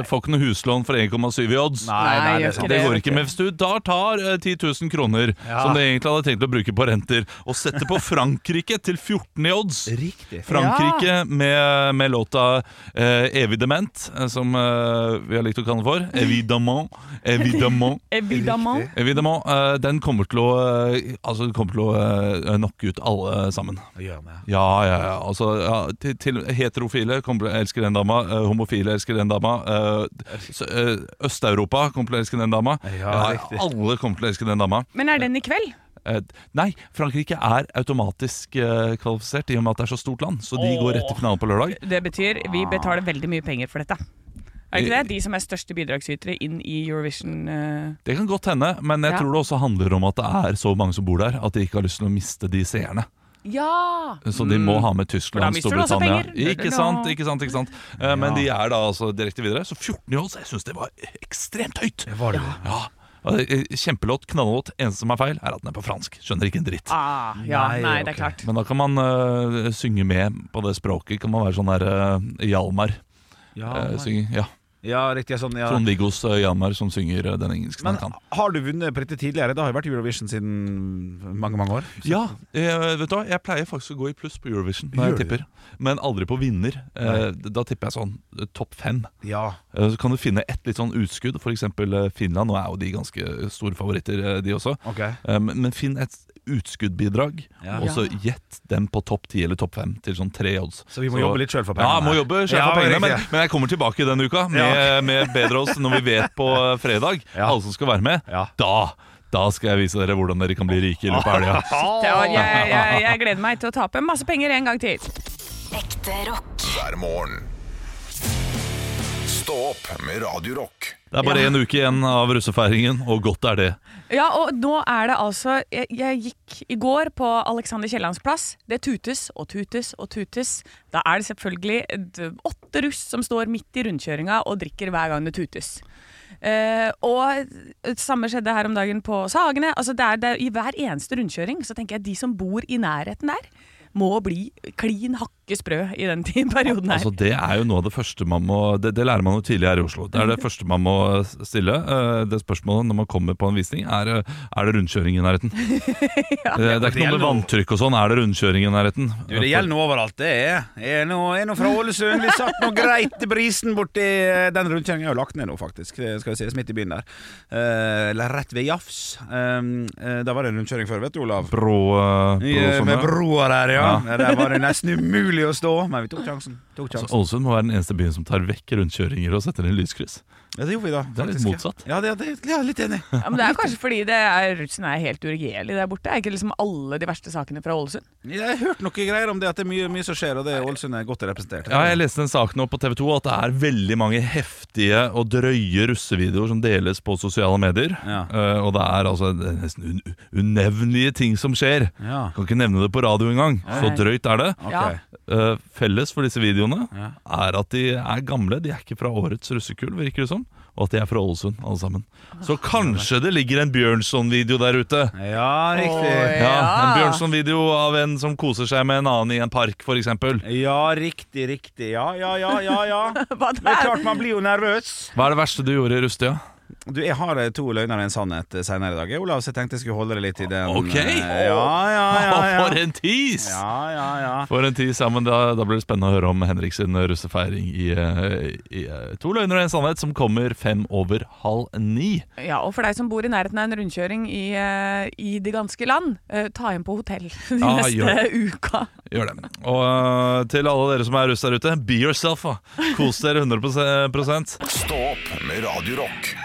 Speaker 4: eh, får ikke noe huslån for 1,7 i odds.
Speaker 2: Nei,
Speaker 3: det er
Speaker 2: jeg
Speaker 3: sant.
Speaker 4: Det går ikke. Men hvis du da tar eh, 10 000 kroner,
Speaker 3: Ja.
Speaker 4: som du egentlig hadde tenkt å bruke på renter, og setter på Frankrike til 14 i odds
Speaker 3: Riktig.
Speaker 4: Frankrike med, med låta eh, Evidement, eh, som eh, vi har likt å kalle den for. Evidement. Evidement.
Speaker 2: Eh, Evidemment.
Speaker 4: Evidement. Eh, den kommer til å, eh, altså, den kommer til å eh, knocke ut alle sammen.
Speaker 3: Gjør meg.
Speaker 4: Ja, ja, ja. Altså, ja til, til heterofile kommer til å elske den dama. eh, homofile elsker den dama. eh, s- eh, Øst-Europa kommer til å elske den dama.
Speaker 3: Ja, riktig.
Speaker 4: alle kommer til å elske den dama.
Speaker 2: Men er den i kveld?
Speaker 4: Eh, nei, Frankrike er automatisk eh, kvalifisert i og med at det er så stort land. Så de går rett til finalen på lørdag.
Speaker 2: Det betyr vi betaler veldig mye penger for dette. Er det ikke det? De som er største bidragsytere inn i Eurovision. eh,
Speaker 4: Det kan godt hende, men jeg
Speaker 2: Ja.
Speaker 4: tror det også handler om at det er så mange som bor der, at de ikke har lyst til å miste de seerne.
Speaker 2: Ja!
Speaker 4: Så de må ha med
Speaker 2: For Mm.
Speaker 4: Tyskland,
Speaker 2: da mister du også
Speaker 4: Storbritannia
Speaker 2: penger.
Speaker 4: Ikke sant, ikke sant, ikke sant. Eh, Men de er da altså direkte videre. Så 14 i odds, jeg syns det var ekstremt høyt.
Speaker 3: Det var det.
Speaker 4: Ja. Ja, det er Kjempelåt, knallåt. Eneste som er feil, er at den er på fransk. Skjønner ikke en dritt.
Speaker 2: Ah, ja,
Speaker 3: Nei,
Speaker 2: nei, det
Speaker 3: ok.
Speaker 2: er klart.
Speaker 4: Men da kan man eh, synge med på det språket. Kan man være sånn der eh, Hjalmar.
Speaker 3: Ja,
Speaker 4: eh, synger. Ja.
Speaker 3: ja, riktig. Sånn, ja.
Speaker 4: Trond-Viggos eh, Hjalmar som synger eh, den engelsken
Speaker 3: Men
Speaker 4: han kan.
Speaker 3: har du vunnet på dette tidligere? Det har jo vært Eurovision siden mange, mange år.
Speaker 4: Ja, eh, vet du hva? Jeg pleier faktisk å gå i pluss på Eurovision når jeg
Speaker 3: Gjør du
Speaker 4: tipper. Men aldri på vinner. Eh, da tipper jeg sånn eh, topp fem.
Speaker 3: Ja.
Speaker 4: Eh, Så kan du finne et litt sånn utskudd, f.eks. Finland. Nå er jo de ganske store favoritter, eh, de også.
Speaker 3: Ok.
Speaker 4: Eh, Men men finn et utskuddbidrag,
Speaker 3: Ja.
Speaker 4: og så gjett dem på topp 10 eller topp 5 til sånn tre odds.
Speaker 3: Så vi må jobbe litt selv for
Speaker 4: Ja,
Speaker 3: pengene.
Speaker 4: må jobbe selv
Speaker 3: Ja,
Speaker 4: for pengene,
Speaker 3: riktig.
Speaker 4: men, men jeg kommer tilbake denne uka med, med bedre odds når vi vet på eh, fredag.
Speaker 3: Ja.
Speaker 4: Alle som skal være med.
Speaker 3: Ja.
Speaker 4: Da, da skal jeg vise dere hvordan dere kan bli rike i løpet av helga.
Speaker 2: Det var, jeg, jeg, jeg gleder meg til å tape masse penger en gang til.
Speaker 5: Ekte rock.
Speaker 1: hver morgen. Stå opp med Radio Rock.
Speaker 4: Det er bare
Speaker 2: Ja.
Speaker 4: én uke igjen av russefeiringen, og godt er det.
Speaker 2: Ja, og nå er det altså Jeg, jeg gikk i går på Alexander Kiellands plass. Det tutes og tutes og tutes. Da er det selvfølgelig d- åtte russ som står midt i rundkjøringa og drikker hver gang det tutes. Eh, og det samme skjedde her om dagen på Sagene. Altså det er, det er, I hver eneste rundkjøring så tenker jeg de som bor i nærheten der, må bli klin hakke sprø i den ti- perioden her.
Speaker 4: Altså, det er jo noe av det første man må Det, det lærer man jo tidlig her i Oslo. Det er det første man må stille. Eh, Det spørsmålet når man kommer på en visning, er eh, Er det rundkjøring i nærheten. Eh, Det er ikke noe med vanntrykk og sånn. Er det rundkjøring i nærheten? Altså,
Speaker 3: Du, det gjelder noe overalt, det er. Jeg er nå, jeg er nå fra Ålesund. Vi satt nå greit i brisen borti eh, Den rundkjøringen er jo lagt ned nå, faktisk. Det Skal vi se, midt i byen der. Eh, Eller rett ved Jafs. Um, eh, Da var det en rundkjøring før, vet du, Olav.
Speaker 4: Brå, eh, brå
Speaker 3: I, eh,
Speaker 4: sånne.
Speaker 3: Ved broa der, ja.
Speaker 4: Ja.
Speaker 3: Der var det nesten umulig å stå, men vi tok sjansen. Tok
Speaker 4: Så
Speaker 3: sjansen.
Speaker 4: Altså, Ålesund må være den eneste byen som tar vekk rundkjøringer og setter inn lyskryss.
Speaker 3: Ja, det gjorde vi da.
Speaker 4: Det er litt
Speaker 3: faktisk, ja.
Speaker 4: motsatt.
Speaker 3: Ja, det, det, ja litt enig.
Speaker 2: Ja, men det er kanskje fordi det er, russen er helt uregjerlig der borte. Er ikke liksom alle de verste sakene fra Ålesund?
Speaker 3: Jeg har hørt noe greier om det, at det er mye, mye som skjer, og det er Ålesund er godt representert.
Speaker 4: Ja, jeg leste en sak nå på TV 2 at det er veldig mange heftige og drøye russevideoer som deles på sosiale medier.
Speaker 3: Ja.
Speaker 4: Eh, og det er altså det er nesten un unevnelige ting som skjer.
Speaker 3: Ja.
Speaker 4: Kan ikke nevne det på radio engang. Så
Speaker 2: Nei.
Speaker 4: drøyt er det.
Speaker 3: Ok.
Speaker 2: Ja.
Speaker 4: Eh, felles for disse videoene
Speaker 3: Ja.
Speaker 4: er at de er gamle. De er ikke fra årets russekull, virker det som. Og at de er fra Ålesund, alle sammen. Så
Speaker 3: Ah.
Speaker 4: kanskje det ligger en Bjørnson-video der ute.
Speaker 3: ja, riktig.
Speaker 2: Oi.
Speaker 4: Ja, En
Speaker 2: Ja.
Speaker 4: Bjørnson-video av en som koser seg med en annen i en park, f.eks.
Speaker 3: Ja, riktig, riktig. Ja, ja, ja, ja. ja.
Speaker 2: Hva
Speaker 3: Det er klart man blir jo nervøs.
Speaker 4: Hva er det verste du gjorde i russetida?
Speaker 3: Du, Jeg har eh, to løgner og en sannhet eh, senere i dag, eh, Olav, så jeg tenkte jeg skulle holde det litt i den.
Speaker 4: Ok.
Speaker 3: eh, Ja, ja, ja.
Speaker 4: Å, For
Speaker 3: ja.
Speaker 4: en tis!
Speaker 3: Ja, ja, ja.
Speaker 4: For en tis, ja, men da, da blir det spennende å høre om Henrik sin russefeiring i, eh, i eh, To løgner og en sannhet, som kommer fem over halv ni.
Speaker 2: Ja, og for deg som bor i nærheten av en rundkjøring i, eh, i det ganske land, eh, ta hjem på hotell de
Speaker 4: Ja,
Speaker 2: neste
Speaker 4: gjør
Speaker 2: uka.
Speaker 4: Gjør det. Og eh, til alle dere som er russ der ute, be yourself, da. Kos dere 100
Speaker 1: Stå opp med Radio Rock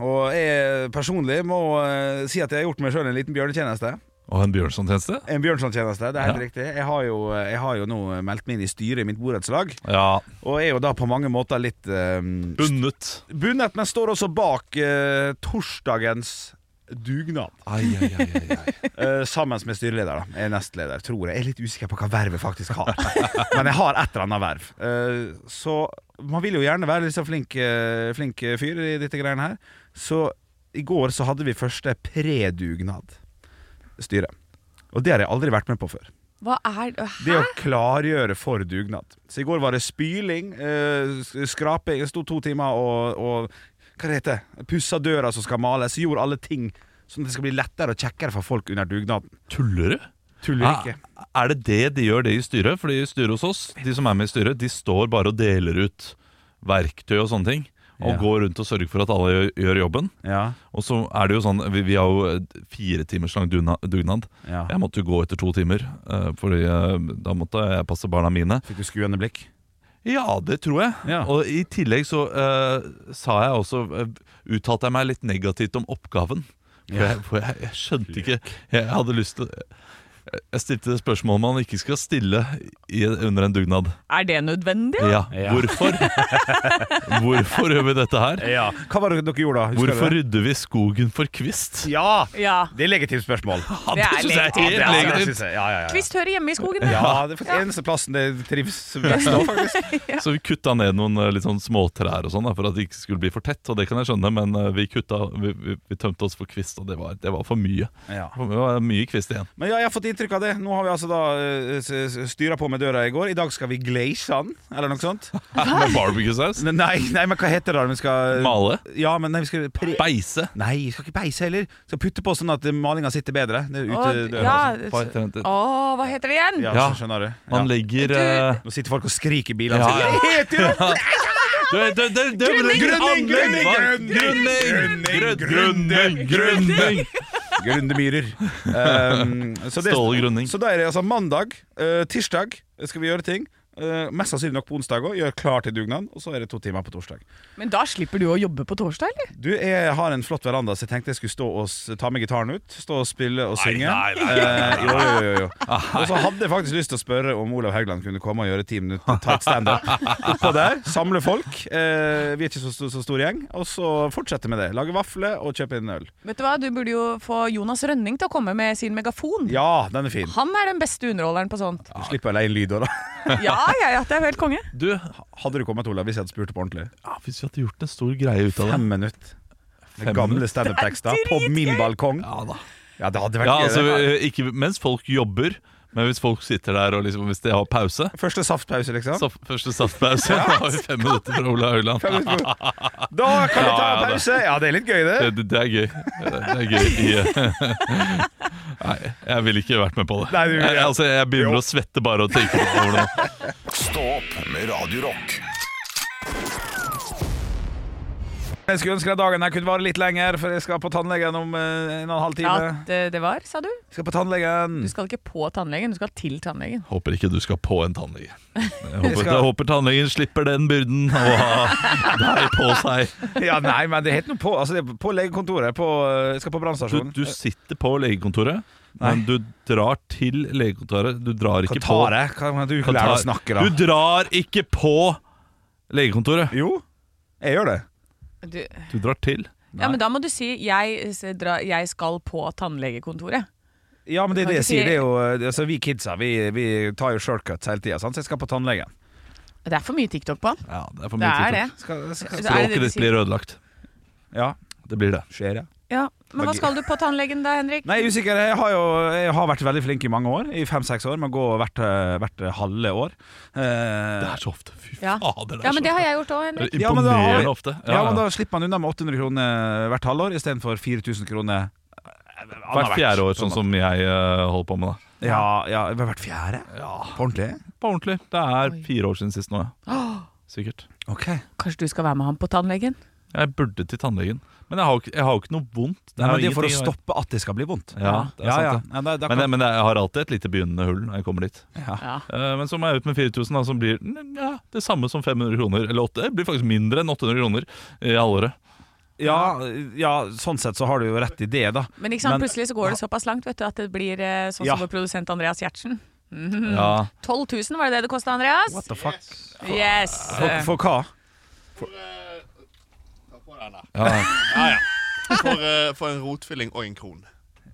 Speaker 3: Og jeg personlig må eh, si at jeg har gjort meg sjøl en liten bjørnetjeneste.
Speaker 4: Og en Bjørnson-tjeneste?
Speaker 3: En Bjørnson-tjeneste, det er helt
Speaker 4: Ja.
Speaker 3: riktig. Jeg har, jo, eh, jeg har jo nå meldt meg inn i styret i mitt borettslag,
Speaker 4: Ja.
Speaker 3: og er jo da på mange måter litt eh,
Speaker 4: Bundet.
Speaker 3: Bundet, men står også bak eh, torsdagens dugnad.
Speaker 4: Ai, ai, ai, ai, ai.
Speaker 3: Eh, sammen med styreleder, da. Jeg er nestleder, tror jeg. Jeg er litt usikker på hva vervet faktisk har. Men jeg har et eller annet verv. Eh, så man vil jo gjerne være litt så flink, eh, flink fyr i dette greiene her. Så i går så hadde vi første predugnad. Styret. Og det har jeg aldri vært med på før.
Speaker 2: Hva er
Speaker 3: Det
Speaker 2: Hæ?
Speaker 3: å klargjøre for dugnad. Så i går var det spyling, eh, sk- skraping Det sto to timer og, og Hva det heter det? Pussa døra som skal males. Gjorde alle ting sånn at det skal bli lettere og kjekkere for folk under dugnaden. Ah.
Speaker 4: Tuller du?
Speaker 3: Tuller ikke.
Speaker 4: Er, er det det de gjør, det i styret? Fordi i styret hos oss, de som er med i styret, de står bare og deler ut verktøy og sånne ting. Og
Speaker 3: Ja.
Speaker 4: går rundt og sørger for at alle gjør, gjør jobben.
Speaker 3: Ja.
Speaker 4: Og så er det jo sånn Vi, vi har jo eh, fire timers lang dugna- dugnad.
Speaker 3: Ja.
Speaker 4: Jeg måtte jo gå etter to timer, eh, Fordi eh, da måtte jeg passe barna mine.
Speaker 3: Fikk du skuende blikk?
Speaker 4: Ja, det tror jeg.
Speaker 3: Ja.
Speaker 4: Og i tillegg så eh, sa jeg også eh, Uttalte jeg meg litt negativt om oppgaven. For, jeg, for jeg, jeg skjønte ikke Jeg hadde lyst til Jeg stilte det spørsmålet man ikke skal stille i, under en dugnad.
Speaker 2: Er det nødvendig?
Speaker 4: Ja,
Speaker 3: Ja.
Speaker 4: hvorfor? Hvorfor gjør vi dette her?
Speaker 3: Ja. Hva var det dere gjorde da? Husker
Speaker 4: Hvorfor
Speaker 3: dere det?
Speaker 4: rydder vi skogen for kvist?
Speaker 3: Ja!
Speaker 2: Ja.
Speaker 3: Det er legitimt spørsmål.
Speaker 4: Ja,
Speaker 2: det
Speaker 4: det
Speaker 2: er
Speaker 4: syns jeg
Speaker 2: legitimt.
Speaker 4: er
Speaker 3: Ja,
Speaker 4: helt
Speaker 3: det
Speaker 4: legitimt.
Speaker 3: synes jeg. Ja, ja, ja.
Speaker 2: Kvist hører hjemme i skogen. det.
Speaker 3: Ja, det er faktisk eneste plassen det trives best nå, faktisk.
Speaker 4: Så vi kutta ned noen eh, litt sånn småtrær og sånn da, for at det ikke skulle bli for tett. Og det kan jeg skjønne, men eh, vi, kutta, vi, vi, vi tømte oss for kvist, og det var, det var for mye.
Speaker 3: Ja.
Speaker 4: Det var mye kvist igjen.
Speaker 3: Men ja, jeg har fått inntrykk av det. Nå har vi altså da uh, styra på med døra i går. I dag skal vi glaze den, eller noe sånt.
Speaker 4: Med barbecuesaus?
Speaker 3: Nei, nei, men hva heter det? da? Vi skal
Speaker 4: Male?
Speaker 3: Ja, men nei, vi skal pre...
Speaker 4: Beise?
Speaker 3: Nei, vi skal ikke beise heller. Vi skal putte på sånn at malinga sitter bedre. Det er ute
Speaker 2: Å,
Speaker 3: døra.
Speaker 2: ja.
Speaker 3: altså.
Speaker 2: det-
Speaker 4: Bare tenk-
Speaker 2: Å, hva heter det igjen?
Speaker 3: Ja,
Speaker 4: Ja.
Speaker 3: så skjønner du. Ja.
Speaker 4: Man legger eh,
Speaker 3: Nå sitter folk og skriker i bilene.
Speaker 4: Ja,
Speaker 3: Ja,
Speaker 4: ja.
Speaker 3: ja.
Speaker 4: det- det- det- det-
Speaker 2: Grunning,
Speaker 4: Grunning!
Speaker 3: grunning,
Speaker 4: Hva?
Speaker 3: grunning,
Speaker 4: Grunning!
Speaker 3: grunning,
Speaker 4: Grunning! Grunning!
Speaker 3: Grundemyrer. Um, så det-
Speaker 4: Ståle Grunning.
Speaker 3: Så da er det altså mandag, eh, tirsdag skal vi gjøre ting. Eh, mest sannsynlig nok på onsdag òg. Gjør klar til dugnad. Og så er det to timer på torsdag.
Speaker 2: Men da slipper du å jobbe på torsdag, eller?
Speaker 3: Du, jeg har en flott veranda, så jeg tenkte jeg skulle stå og s- ta med gitaren ut. Stå og spille og synge.
Speaker 4: nei, nei,
Speaker 3: Eh, jo, jo, jo, jo. Og så hadde jeg faktisk lyst til å spørre om Olav Haugland kunne komme og gjøre ti minutter tight standup oppå der. Samle folk. Eh, vi er ikke så, så, så stor gjeng. Og så fortsette med det. Lage vafler og kjøpe inn øl.
Speaker 2: Vet Du hva, du burde jo få Jonas Rønning til å komme med sin megafon.
Speaker 3: Ja, den er fin.
Speaker 2: Han er den beste underholderen på sånt.
Speaker 3: Du slipper å leie inn lyd òg, da.
Speaker 2: Ja, ja, ja, det er jo helt konge.
Speaker 4: Du,
Speaker 3: Hadde du kommet, Olav, hvis jeg hadde spurt på ordentlig?
Speaker 4: ja, hvis vi hadde gjort en stor greie ut av det
Speaker 3: Fem minutter. Med
Speaker 4: Fem
Speaker 3: gamle
Speaker 4: minutter.
Speaker 3: standup-tekster på min balkong.
Speaker 4: Ja da.
Speaker 3: Ja, det hadde vært
Speaker 4: Ja,
Speaker 3: gøy.
Speaker 4: altså,
Speaker 3: det.
Speaker 4: eh, ikke mens folk jobber, men hvis folk sitter der og liksom, hvis de har pause
Speaker 3: Første saftpause, liksom.
Speaker 4: så Første saftpause, da har vi fem minutter fra Ola Høiland.
Speaker 3: Fem minutter på- Da kan vi ta
Speaker 4: Ja, ja, det-
Speaker 3: pause! Ja, det er litt gøy, det.
Speaker 4: Det, det, det er gøy. Det er gøy i, Nei, jeg ville ikke vært med på det.
Speaker 3: Nei, du vil
Speaker 4: jeg,
Speaker 3: ikke.
Speaker 4: altså, jeg begynner
Speaker 3: Jo.
Speaker 4: å svette bare av å tenke på det. nå.
Speaker 1: Stå opp med Radio Rock.
Speaker 3: Jeg skulle ønske at dagen her kunne vare litt lenger, for jeg skal på tannlegen om eh, en og en halv
Speaker 2: Ja,
Speaker 3: time.
Speaker 2: det, det var, sa du.
Speaker 3: Jeg skal på tannlegen.
Speaker 2: Du skal ikke på tannlegen, du skal til tannlegen.
Speaker 4: Håper ikke du skal på en tannlege. Jeg
Speaker 3: Jeg
Speaker 4: håper,
Speaker 3: skal-
Speaker 4: jeg håper tannlegen slipper den byrden å ha deg på seg.
Speaker 3: Ja, nei, men det heter noe på Altså, det er på legekontoret. På, eh, jeg skal på
Speaker 4: Du,
Speaker 3: brannstasjonen.
Speaker 4: du sitter på legekontoret, men du drar til legekontoret. Du drar ikke på
Speaker 3: Katare. Kan du ikke lære å snakke, da?
Speaker 4: Du drar ikke på legekontoret.
Speaker 3: Jo, jeg gjør det.
Speaker 2: Du,
Speaker 4: Du drar til.
Speaker 2: ja, men da må du si jeg, s- dra- 'jeg skal på tannlegekontoret'.
Speaker 3: Ja, men det
Speaker 2: Kan
Speaker 3: er det
Speaker 2: ikke
Speaker 3: jeg
Speaker 2: si-
Speaker 3: sier. Det er jo, eh, altså, vi kidsa vi, vi tar jo shortcuts hele tida, så jeg skal på tannlegen.
Speaker 2: Det er for mye TikTok på han.
Speaker 4: Ja, det er for
Speaker 2: Det
Speaker 4: mye
Speaker 2: er
Speaker 4: tid
Speaker 2: det.
Speaker 4: til.
Speaker 3: Skal,
Speaker 2: Så er
Speaker 3: skal,
Speaker 2: det det
Speaker 4: Språket
Speaker 2: du
Speaker 4: ditt
Speaker 2: sier.
Speaker 4: blir ødelagt.
Speaker 3: ja,
Speaker 4: Det blir det.
Speaker 3: skjer det.
Speaker 2: Ja, Men hva skal du på tannlegen da, Henrik?
Speaker 3: Nei, jeg er usikker. Jeg har jo jeg har vært veldig flink i mange år. I fem-seks år. Med å gå hvert, eh, hvert halve år. Eh,
Speaker 4: Det er så ofte. Fy
Speaker 2: Ja.
Speaker 4: fader, det er
Speaker 2: Ja, men
Speaker 4: så
Speaker 2: det har
Speaker 4: ofte.
Speaker 2: jeg gjort òg, Henrik.
Speaker 4: Det er
Speaker 3: Ja, men da har-
Speaker 4: Imponerende ofte.
Speaker 3: Ja, men da slipper man unna med 800 kroner hvert halvår istedenfor 4000 kroner Eh,
Speaker 4: Hvert fjerde år, sånn som jeg eh, holder på med. da
Speaker 3: Ja, ja hvert fjerde? På ordentlig?
Speaker 4: På ordentlig. Det er fire år siden sist nå, ja. Sikkert.
Speaker 3: Ok.
Speaker 2: Kanskje du skal være med han på tannlegen?
Speaker 4: Jeg burde til tannlegen. Men jeg har jo ikke, jeg har jo ikke noe vondt.
Speaker 3: Nei, men det
Speaker 4: jo
Speaker 3: er for å
Speaker 4: ingenting å-
Speaker 3: stoppe at det skal bli vondt.
Speaker 4: Ja, det er sant, det.
Speaker 3: Nei, da- da
Speaker 4: Men, jeg-
Speaker 3: kan,
Speaker 4: men jeg har alltid et lite begynnende hull når jeg kommer dit.
Speaker 3: ja.
Speaker 2: Ja.
Speaker 4: Eh, Men så må jeg ut med 4000, da, som blir mm, ja, det samme som 500 kroner. Eller åtte, det blir faktisk mindre enn 800 kroner i halvåret.
Speaker 3: Ja, ja, sånn sett så har du jo rett i det, da.
Speaker 2: Men ikke sant,
Speaker 3: Men-
Speaker 2: plutselig så går det såpass langt vet du, at det blir eh, sånn
Speaker 3: Ja.
Speaker 2: som vår produsent Andreas Gjertsen. Mm.
Speaker 4: Ja.
Speaker 2: 12 000 var det det det kosta, Andreas?
Speaker 3: What the fuck?
Speaker 2: Yes!
Speaker 3: For, for hva?
Speaker 7: eh, Ta på deg den der.
Speaker 4: Ja.
Speaker 7: For, eh, for en rotfylling og en kron.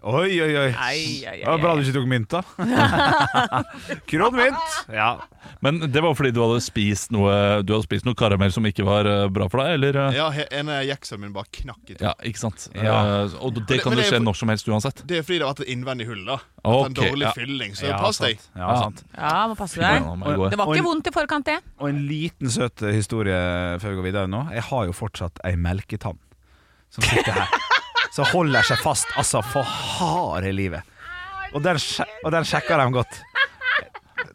Speaker 3: Oi, oi, oi.
Speaker 2: Ai, ai, ai,
Speaker 3: Det var Bra du ikke tok mynt, da. Kronmynt. Ja.
Speaker 4: Men det var fordi du hadde spist noe Du hadde spist noe karamell som ikke var eh, bra for deg, eller? eh?
Speaker 7: Ja, he- ene jeksen min bare knakk i to.
Speaker 4: Ja, ikke sant?
Speaker 3: Ja.
Speaker 4: Eh, og det kan
Speaker 7: Men
Speaker 4: jo
Speaker 7: det er
Speaker 4: skje
Speaker 7: for-
Speaker 4: når som helst uansett.
Speaker 7: Det er fordi det har vært et innvendig hull, da. At en
Speaker 4: Ok,
Speaker 7: dårlig
Speaker 4: ja.
Speaker 7: fylling, så
Speaker 3: Ja,
Speaker 7: pass deg.
Speaker 3: sant. Ja, sant.
Speaker 2: Ja, må passe
Speaker 4: Ja,
Speaker 2: deg.
Speaker 4: nå må jeg gå.
Speaker 2: Det var
Speaker 3: Og en-
Speaker 2: ikke vondt i forkant, det.
Speaker 3: Og en liten søt historie før vi går videre nå. Jeg har jo fortsatt ei melketann som sitter her. Som holder seg fast, altså for harde livet. Og den, sje- og den sjekker de godt.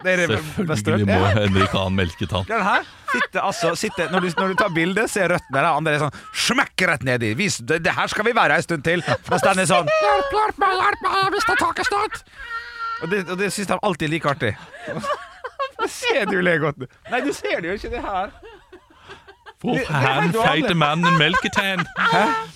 Speaker 3: Det er det beste
Speaker 4: Selvfølgelig
Speaker 3: jeg vet.
Speaker 4: må
Speaker 3: Ja.
Speaker 4: Henrik ha en melketann.
Speaker 3: Den her sitter altså sitter, når, du, når du tar bilde, ser røttene der. Andre er sånn Smekk rett nedi! Vis, det, det her skal vi være ei stund til! Mens den er sånn Hjelp, hjelp meg, hjelp meg, jeg mister taket snart! Og det, og det syns de alltid er like artig. Det ser du le godt. Nei, du ser det jo ikke, det her.
Speaker 4: Hvor
Speaker 3: Det- det er
Speaker 4: hen
Speaker 3: helt vanlig.
Speaker 4: feite mannen en melketann?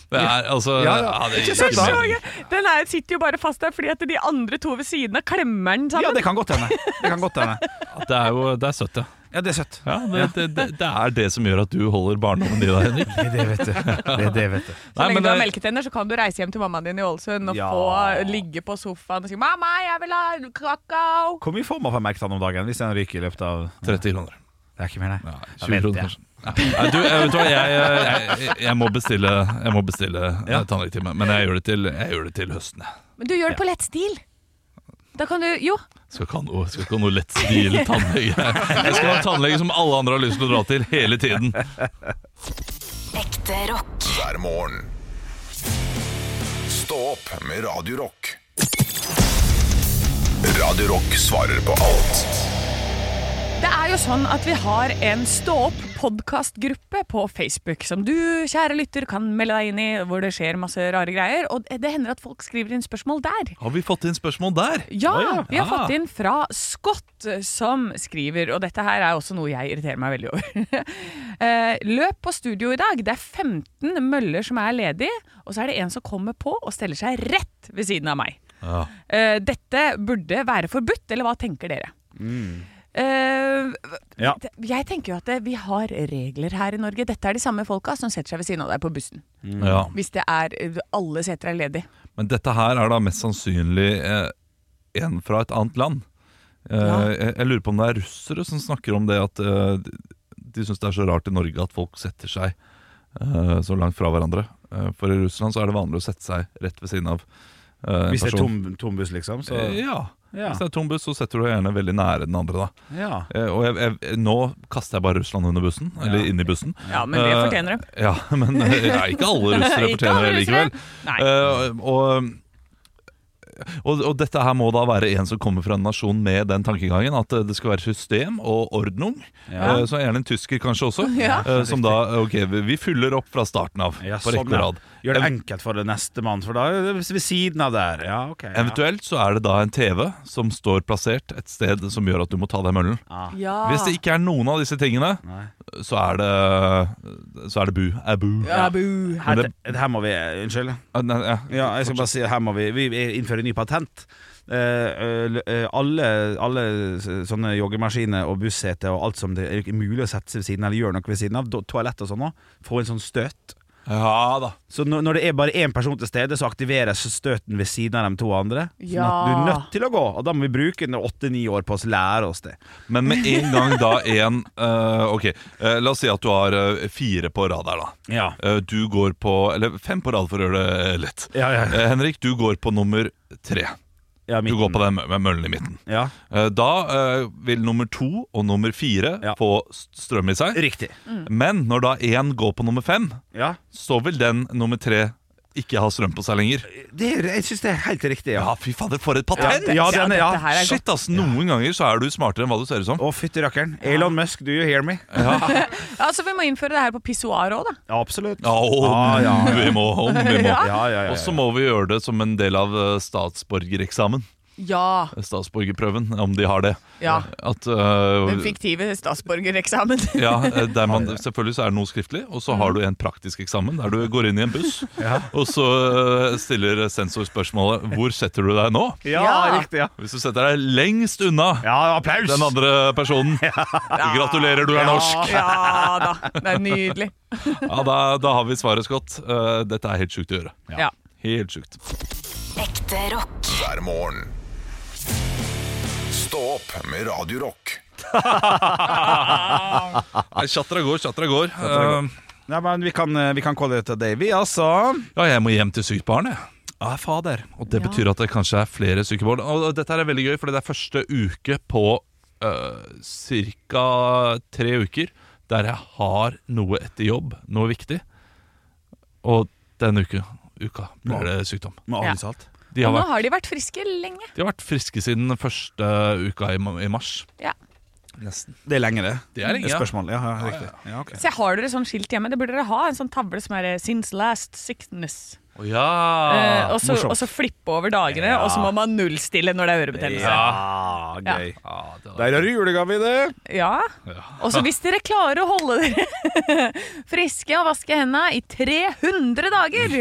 Speaker 4: Det er altså
Speaker 3: Ja, ja.
Speaker 4: ja, det
Speaker 3: Ikke
Speaker 4: gir
Speaker 3: søtt, da.
Speaker 4: mening.
Speaker 2: Den her sitter jo bare fast der fordi at de andre to ved siden av klemmer den
Speaker 3: Ja,
Speaker 2: sammen.
Speaker 3: det kan godt hende. Det kan godt hende.
Speaker 4: Det er jo det er søtt, ja.
Speaker 3: Ja, det er søtt.
Speaker 4: ja det, det, det, det er det som gjør at du holder barndommen i deg, Henrik.
Speaker 3: Det er det, vet du. Det er det, vet du.
Speaker 2: Så lenge
Speaker 4: men
Speaker 2: du har
Speaker 4: det-
Speaker 2: melketenner, så kan du reise hjem til mammaen din i Ålesund og
Speaker 3: Ja.
Speaker 2: få ligge på sofaen og si 'mamma, jeg vil ha kakao'.
Speaker 3: Hvor mye får man for merketann om dagen hvis den ryker i løpet av
Speaker 4: 30 kroner.
Speaker 3: Det er ikke mer, nei.
Speaker 4: Ja,
Speaker 3: Da
Speaker 4: 20
Speaker 3: venter
Speaker 4: kroner
Speaker 3: jeg.
Speaker 4: kanskje. Nei, du, jeg, vet du hva, jeg, eh, jeg, jeg må bestille, jeg må bestille
Speaker 3: Ja.
Speaker 4: eh, tannlegetime, men jeg gjør det til, jeg gjør det til høsten. jeg.
Speaker 2: Men du gjør det på lett stil. Da kan du Jo,
Speaker 4: Skal ikke ha noe, skal ikke ha noe lett stil tannlege. Jeg skal ha en tannlege som alle andre har lyst til å dra til hele tiden.
Speaker 5: Ekte rock.
Speaker 1: hver morgen. Stå opp med Radio Rock. Radio Rock svarer på alt
Speaker 2: Det er jo sånn at vi har en Stå opp-podkastgruppe på Facebook som du, kjære lytter, kan melde deg inn i, hvor det skjer masse rare greier. Og det hender at folk skriver inn spørsmål der.
Speaker 4: Har vi fått inn spørsmål der?
Speaker 2: Ja,
Speaker 4: Å ja.
Speaker 2: vi har
Speaker 4: Ah.
Speaker 2: fått inn fra Scott eh, som skriver, og dette her er også noe jeg irriterer meg veldig over. Eh, Løp på studio i dag. Det er 15 møller som er ledige, og så er det en som kommer på og steller seg rett ved siden av meg.
Speaker 4: Ja.
Speaker 2: Eh, Dette burde være forbudt, eller hva tenker dere?
Speaker 4: Mm.
Speaker 2: Eh,
Speaker 3: Ja.
Speaker 2: det- Jeg tenker jo at eh, vi har regler her i Norge. Dette er de samme folka som setter seg ved siden av deg på bussen.
Speaker 4: Ja.
Speaker 2: Hvis det er eh, alle seter er ledig.
Speaker 4: Men dette her er da mest sannsynlig eh, en fra et annet land. Eh,
Speaker 2: Ja.
Speaker 4: jeg, jeg lurer på om det er russere som snakker om det at eh, de- de syns det er så rart i Norge at folk setter seg eh, så langt fra hverandre. Eh, for i Russland så er det vanlig å sette seg rett ved siden av eh, en
Speaker 3: Hvis det er
Speaker 4: person.
Speaker 3: tom, tom buss, liksom, så
Speaker 4: Eh, ja.
Speaker 3: Ja.
Speaker 4: Hvis det er tom buss, så setter du deg gjerne veldig nære den andre. da
Speaker 3: Ja.
Speaker 4: Eh, Og jeg, jeg, nå kaster jeg bare Russland under bussen, eller inn i bussen.
Speaker 2: Ja, men det
Speaker 4: Eh,
Speaker 2: fortjener de.
Speaker 4: Ja, men eh, ja, ikke alle russere
Speaker 2: Ikke
Speaker 4: fortjener det
Speaker 2: alle russere.
Speaker 4: likevel.
Speaker 2: Nei.
Speaker 4: Eh, og, og, og dette her må da være en som kommer fra en nasjon med den tankegangen at eh, det skal være system og ordnung.
Speaker 3: Ja.
Speaker 4: Eh, så gjerne en tysker kanskje også,
Speaker 2: Ja.
Speaker 4: eh, som da Ok, vi vi fyller opp fra starten av
Speaker 3: Ja,
Speaker 4: på
Speaker 3: sånn,
Speaker 4: rekke og
Speaker 3: ja.
Speaker 4: rad.
Speaker 3: Gjør det enkelt for det neste mann, for da er det ved siden av der. Ja, ok. Ja.
Speaker 4: Eventuelt så er det da en TV som står plassert et sted som gjør at du må ta deg møllen.
Speaker 2: Ja.
Speaker 4: Hvis det ikke er noen av disse tingene,
Speaker 3: Nei.
Speaker 4: så er det Så er det bu. Er bu.
Speaker 2: Ja, bu.
Speaker 3: Her,
Speaker 4: Men
Speaker 3: her må vi Unnskyld.
Speaker 4: Ah, Nei, ja.
Speaker 3: Ja, jeg skal bare si her må vi Vi innfører ny patent. Eh, eh, eh, alle, alle sånne joggemaskiner og busseter og alt som det er mulig å sette seg ved siden av, eller gjøre noe ved siden av, do- toalett og sånn òg, får en sånn støt.
Speaker 4: ja da.
Speaker 3: Så når, når det er bare én person til stede, så aktiveres støten ved siden av de to andre. Sånn at du er
Speaker 2: Ja.
Speaker 3: nødt til å gå, og da må vi bruke åtte-ni år på å lære oss det.
Speaker 4: Men med en gang da en eh, Ok, eh, la oss si at du har eh, fire på rad her, da.
Speaker 3: Ja.
Speaker 4: Eh, du går på Eller fem på rad, for å gjøre det eh, lett.
Speaker 3: Ja, ja,
Speaker 4: Eh, Henrik, du går på nummer tre.
Speaker 3: ja,
Speaker 4: Du
Speaker 3: midten.
Speaker 4: går på den mø- møllen i midten.
Speaker 3: Ja,
Speaker 4: Eh, da eh, vil nummer to og nummer fire
Speaker 3: Ja.
Speaker 4: få s- strøm i seg.
Speaker 3: riktig.
Speaker 4: Men når da én går på nummer fem,
Speaker 3: Ja.
Speaker 4: så vil den nummer tre ikke ha strøm på seg lenger.
Speaker 3: Det, er- jeg syns det er helt riktig, ja.
Speaker 4: Ja, fy fader, for et patent!
Speaker 3: Ja, den
Speaker 2: dette
Speaker 3: er, ja.
Speaker 2: her er
Speaker 4: Shit, ass, Noen ganger så er du smartere enn hva du ser ut som.
Speaker 3: Å, fytti rakkeren. Elon Musk, do you hear me?
Speaker 2: Altså, vi må innføre det her på pissoar òg, da.
Speaker 3: Absolutt.
Speaker 4: Ja, om
Speaker 3: Ah, ja, ja.
Speaker 4: vi må, om vi må.
Speaker 3: Ja, ja, ja, ja.
Speaker 4: Og så må vi gjøre det som en del av eh, statsborgereksamen. eh,
Speaker 2: Ja.
Speaker 4: Statsborgerprøven, om de har det.
Speaker 2: ja.
Speaker 4: At, eh,
Speaker 2: Den fiktive statsborgereksamen.
Speaker 4: ja, eh, der man, selvfølgelig så er det noe skriftlig, og så
Speaker 2: Mm.
Speaker 4: har du en praktisk eksamen der du går inn i en buss, og så eh, stiller sensor spørsmålet 'Hvor setter du deg nå?'
Speaker 3: Ja,
Speaker 2: Ja.
Speaker 3: riktig, ja.
Speaker 4: Hvis du setter deg lengst unna
Speaker 3: Ja, applaus!
Speaker 4: den andre personen, gratulerer, du er norsk!
Speaker 2: Ja da. Det er nydelig.
Speaker 4: Ja, da, da har vi svaret, Scott. Eh, dette er helt sjukt å gjøre.
Speaker 2: Ja.
Speaker 4: Helt sjukt.
Speaker 5: Ekte rock.
Speaker 1: hver morgen. Stå opp med Radio Rock.
Speaker 4: Nei, Tjatra går, tjatra går.
Speaker 3: Nei, men vi kan, eh, vi kan kalle det til deg, vi, altså.
Speaker 4: Eh, ja, jeg må hjem til sykt barn, jeg. Ja, fader. Og det betyr at det kanskje er flere syke barn. Og og dette her er veldig gøy, for det er første uke på uh, ca. tre uker der jeg har noe etter jobb, noe viktig. Og den uka, uka blir det sykdom.
Speaker 3: Med
Speaker 2: Ja.
Speaker 3: avløsalt.
Speaker 4: De har
Speaker 2: Og nå
Speaker 4: vært,
Speaker 2: har de vært friske lenge.
Speaker 4: de har vært friske siden den første uka i, ma- i mars.
Speaker 2: Ja.
Speaker 4: Nesten.
Speaker 3: Det er lenge, det.
Speaker 4: Det er lenge, ja.
Speaker 3: Spørsmål. Ja, ja, riktig. Ja, ok.
Speaker 2: Så har dere sånn skilt hjemme? Det burde dere ha. En sånn tavle som er eh, 'Since last sickness'.
Speaker 4: Å ja!
Speaker 2: Eh, og, så,
Speaker 3: morsomt.
Speaker 2: og så flippe over dagene, og så må man nullstille når det er ørebetennelse.
Speaker 3: Ja, gøy.
Speaker 4: Ja, det var-
Speaker 3: Der har du julegave i det.
Speaker 2: Ja. Og så hvis dere klarer å holde dere friske og vaske hendene i 300 dager,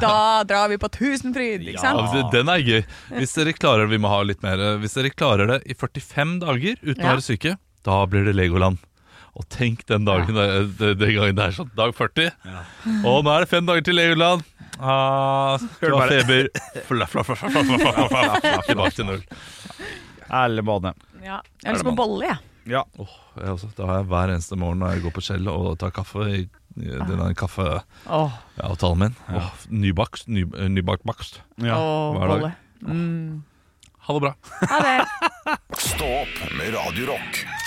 Speaker 2: da drar vi på Tusenfryd, ikke sant?
Speaker 4: Ja, det- Altså, den er gøy. Hvis dere klarer det, vi må ha litt mer eh, Hvis dere klarer det i 45 dager uten å
Speaker 2: Ja.
Speaker 4: være syke, da blir det Legoland. Og tenk den dagen eh, den, den gangen det er sånn. Dag 40. Og nå er det fem dager til Legoland. Ah, du har
Speaker 3: bare-
Speaker 4: feber. Fla, fla, fla, fla, fla, fla, fla, fla, fla, Tilbake til null.
Speaker 3: Ærlig bane.
Speaker 2: Ja. Jeg har lyst på bolle, jeg.
Speaker 3: Ja.
Speaker 4: Åh, jeg også. Det altså, har jeg hver eneste morgen når jeg går på Kjell og tar kaffe. I, i denne kaffeavtalen
Speaker 2: Åh,
Speaker 4: min. Åh, nybakst. Ny, eh, nybakt bakst.
Speaker 2: åh,
Speaker 4: hver dag.
Speaker 2: bolle.
Speaker 4: Ha det bra.
Speaker 2: Ha det.
Speaker 1: Stå opp med Radio Rock.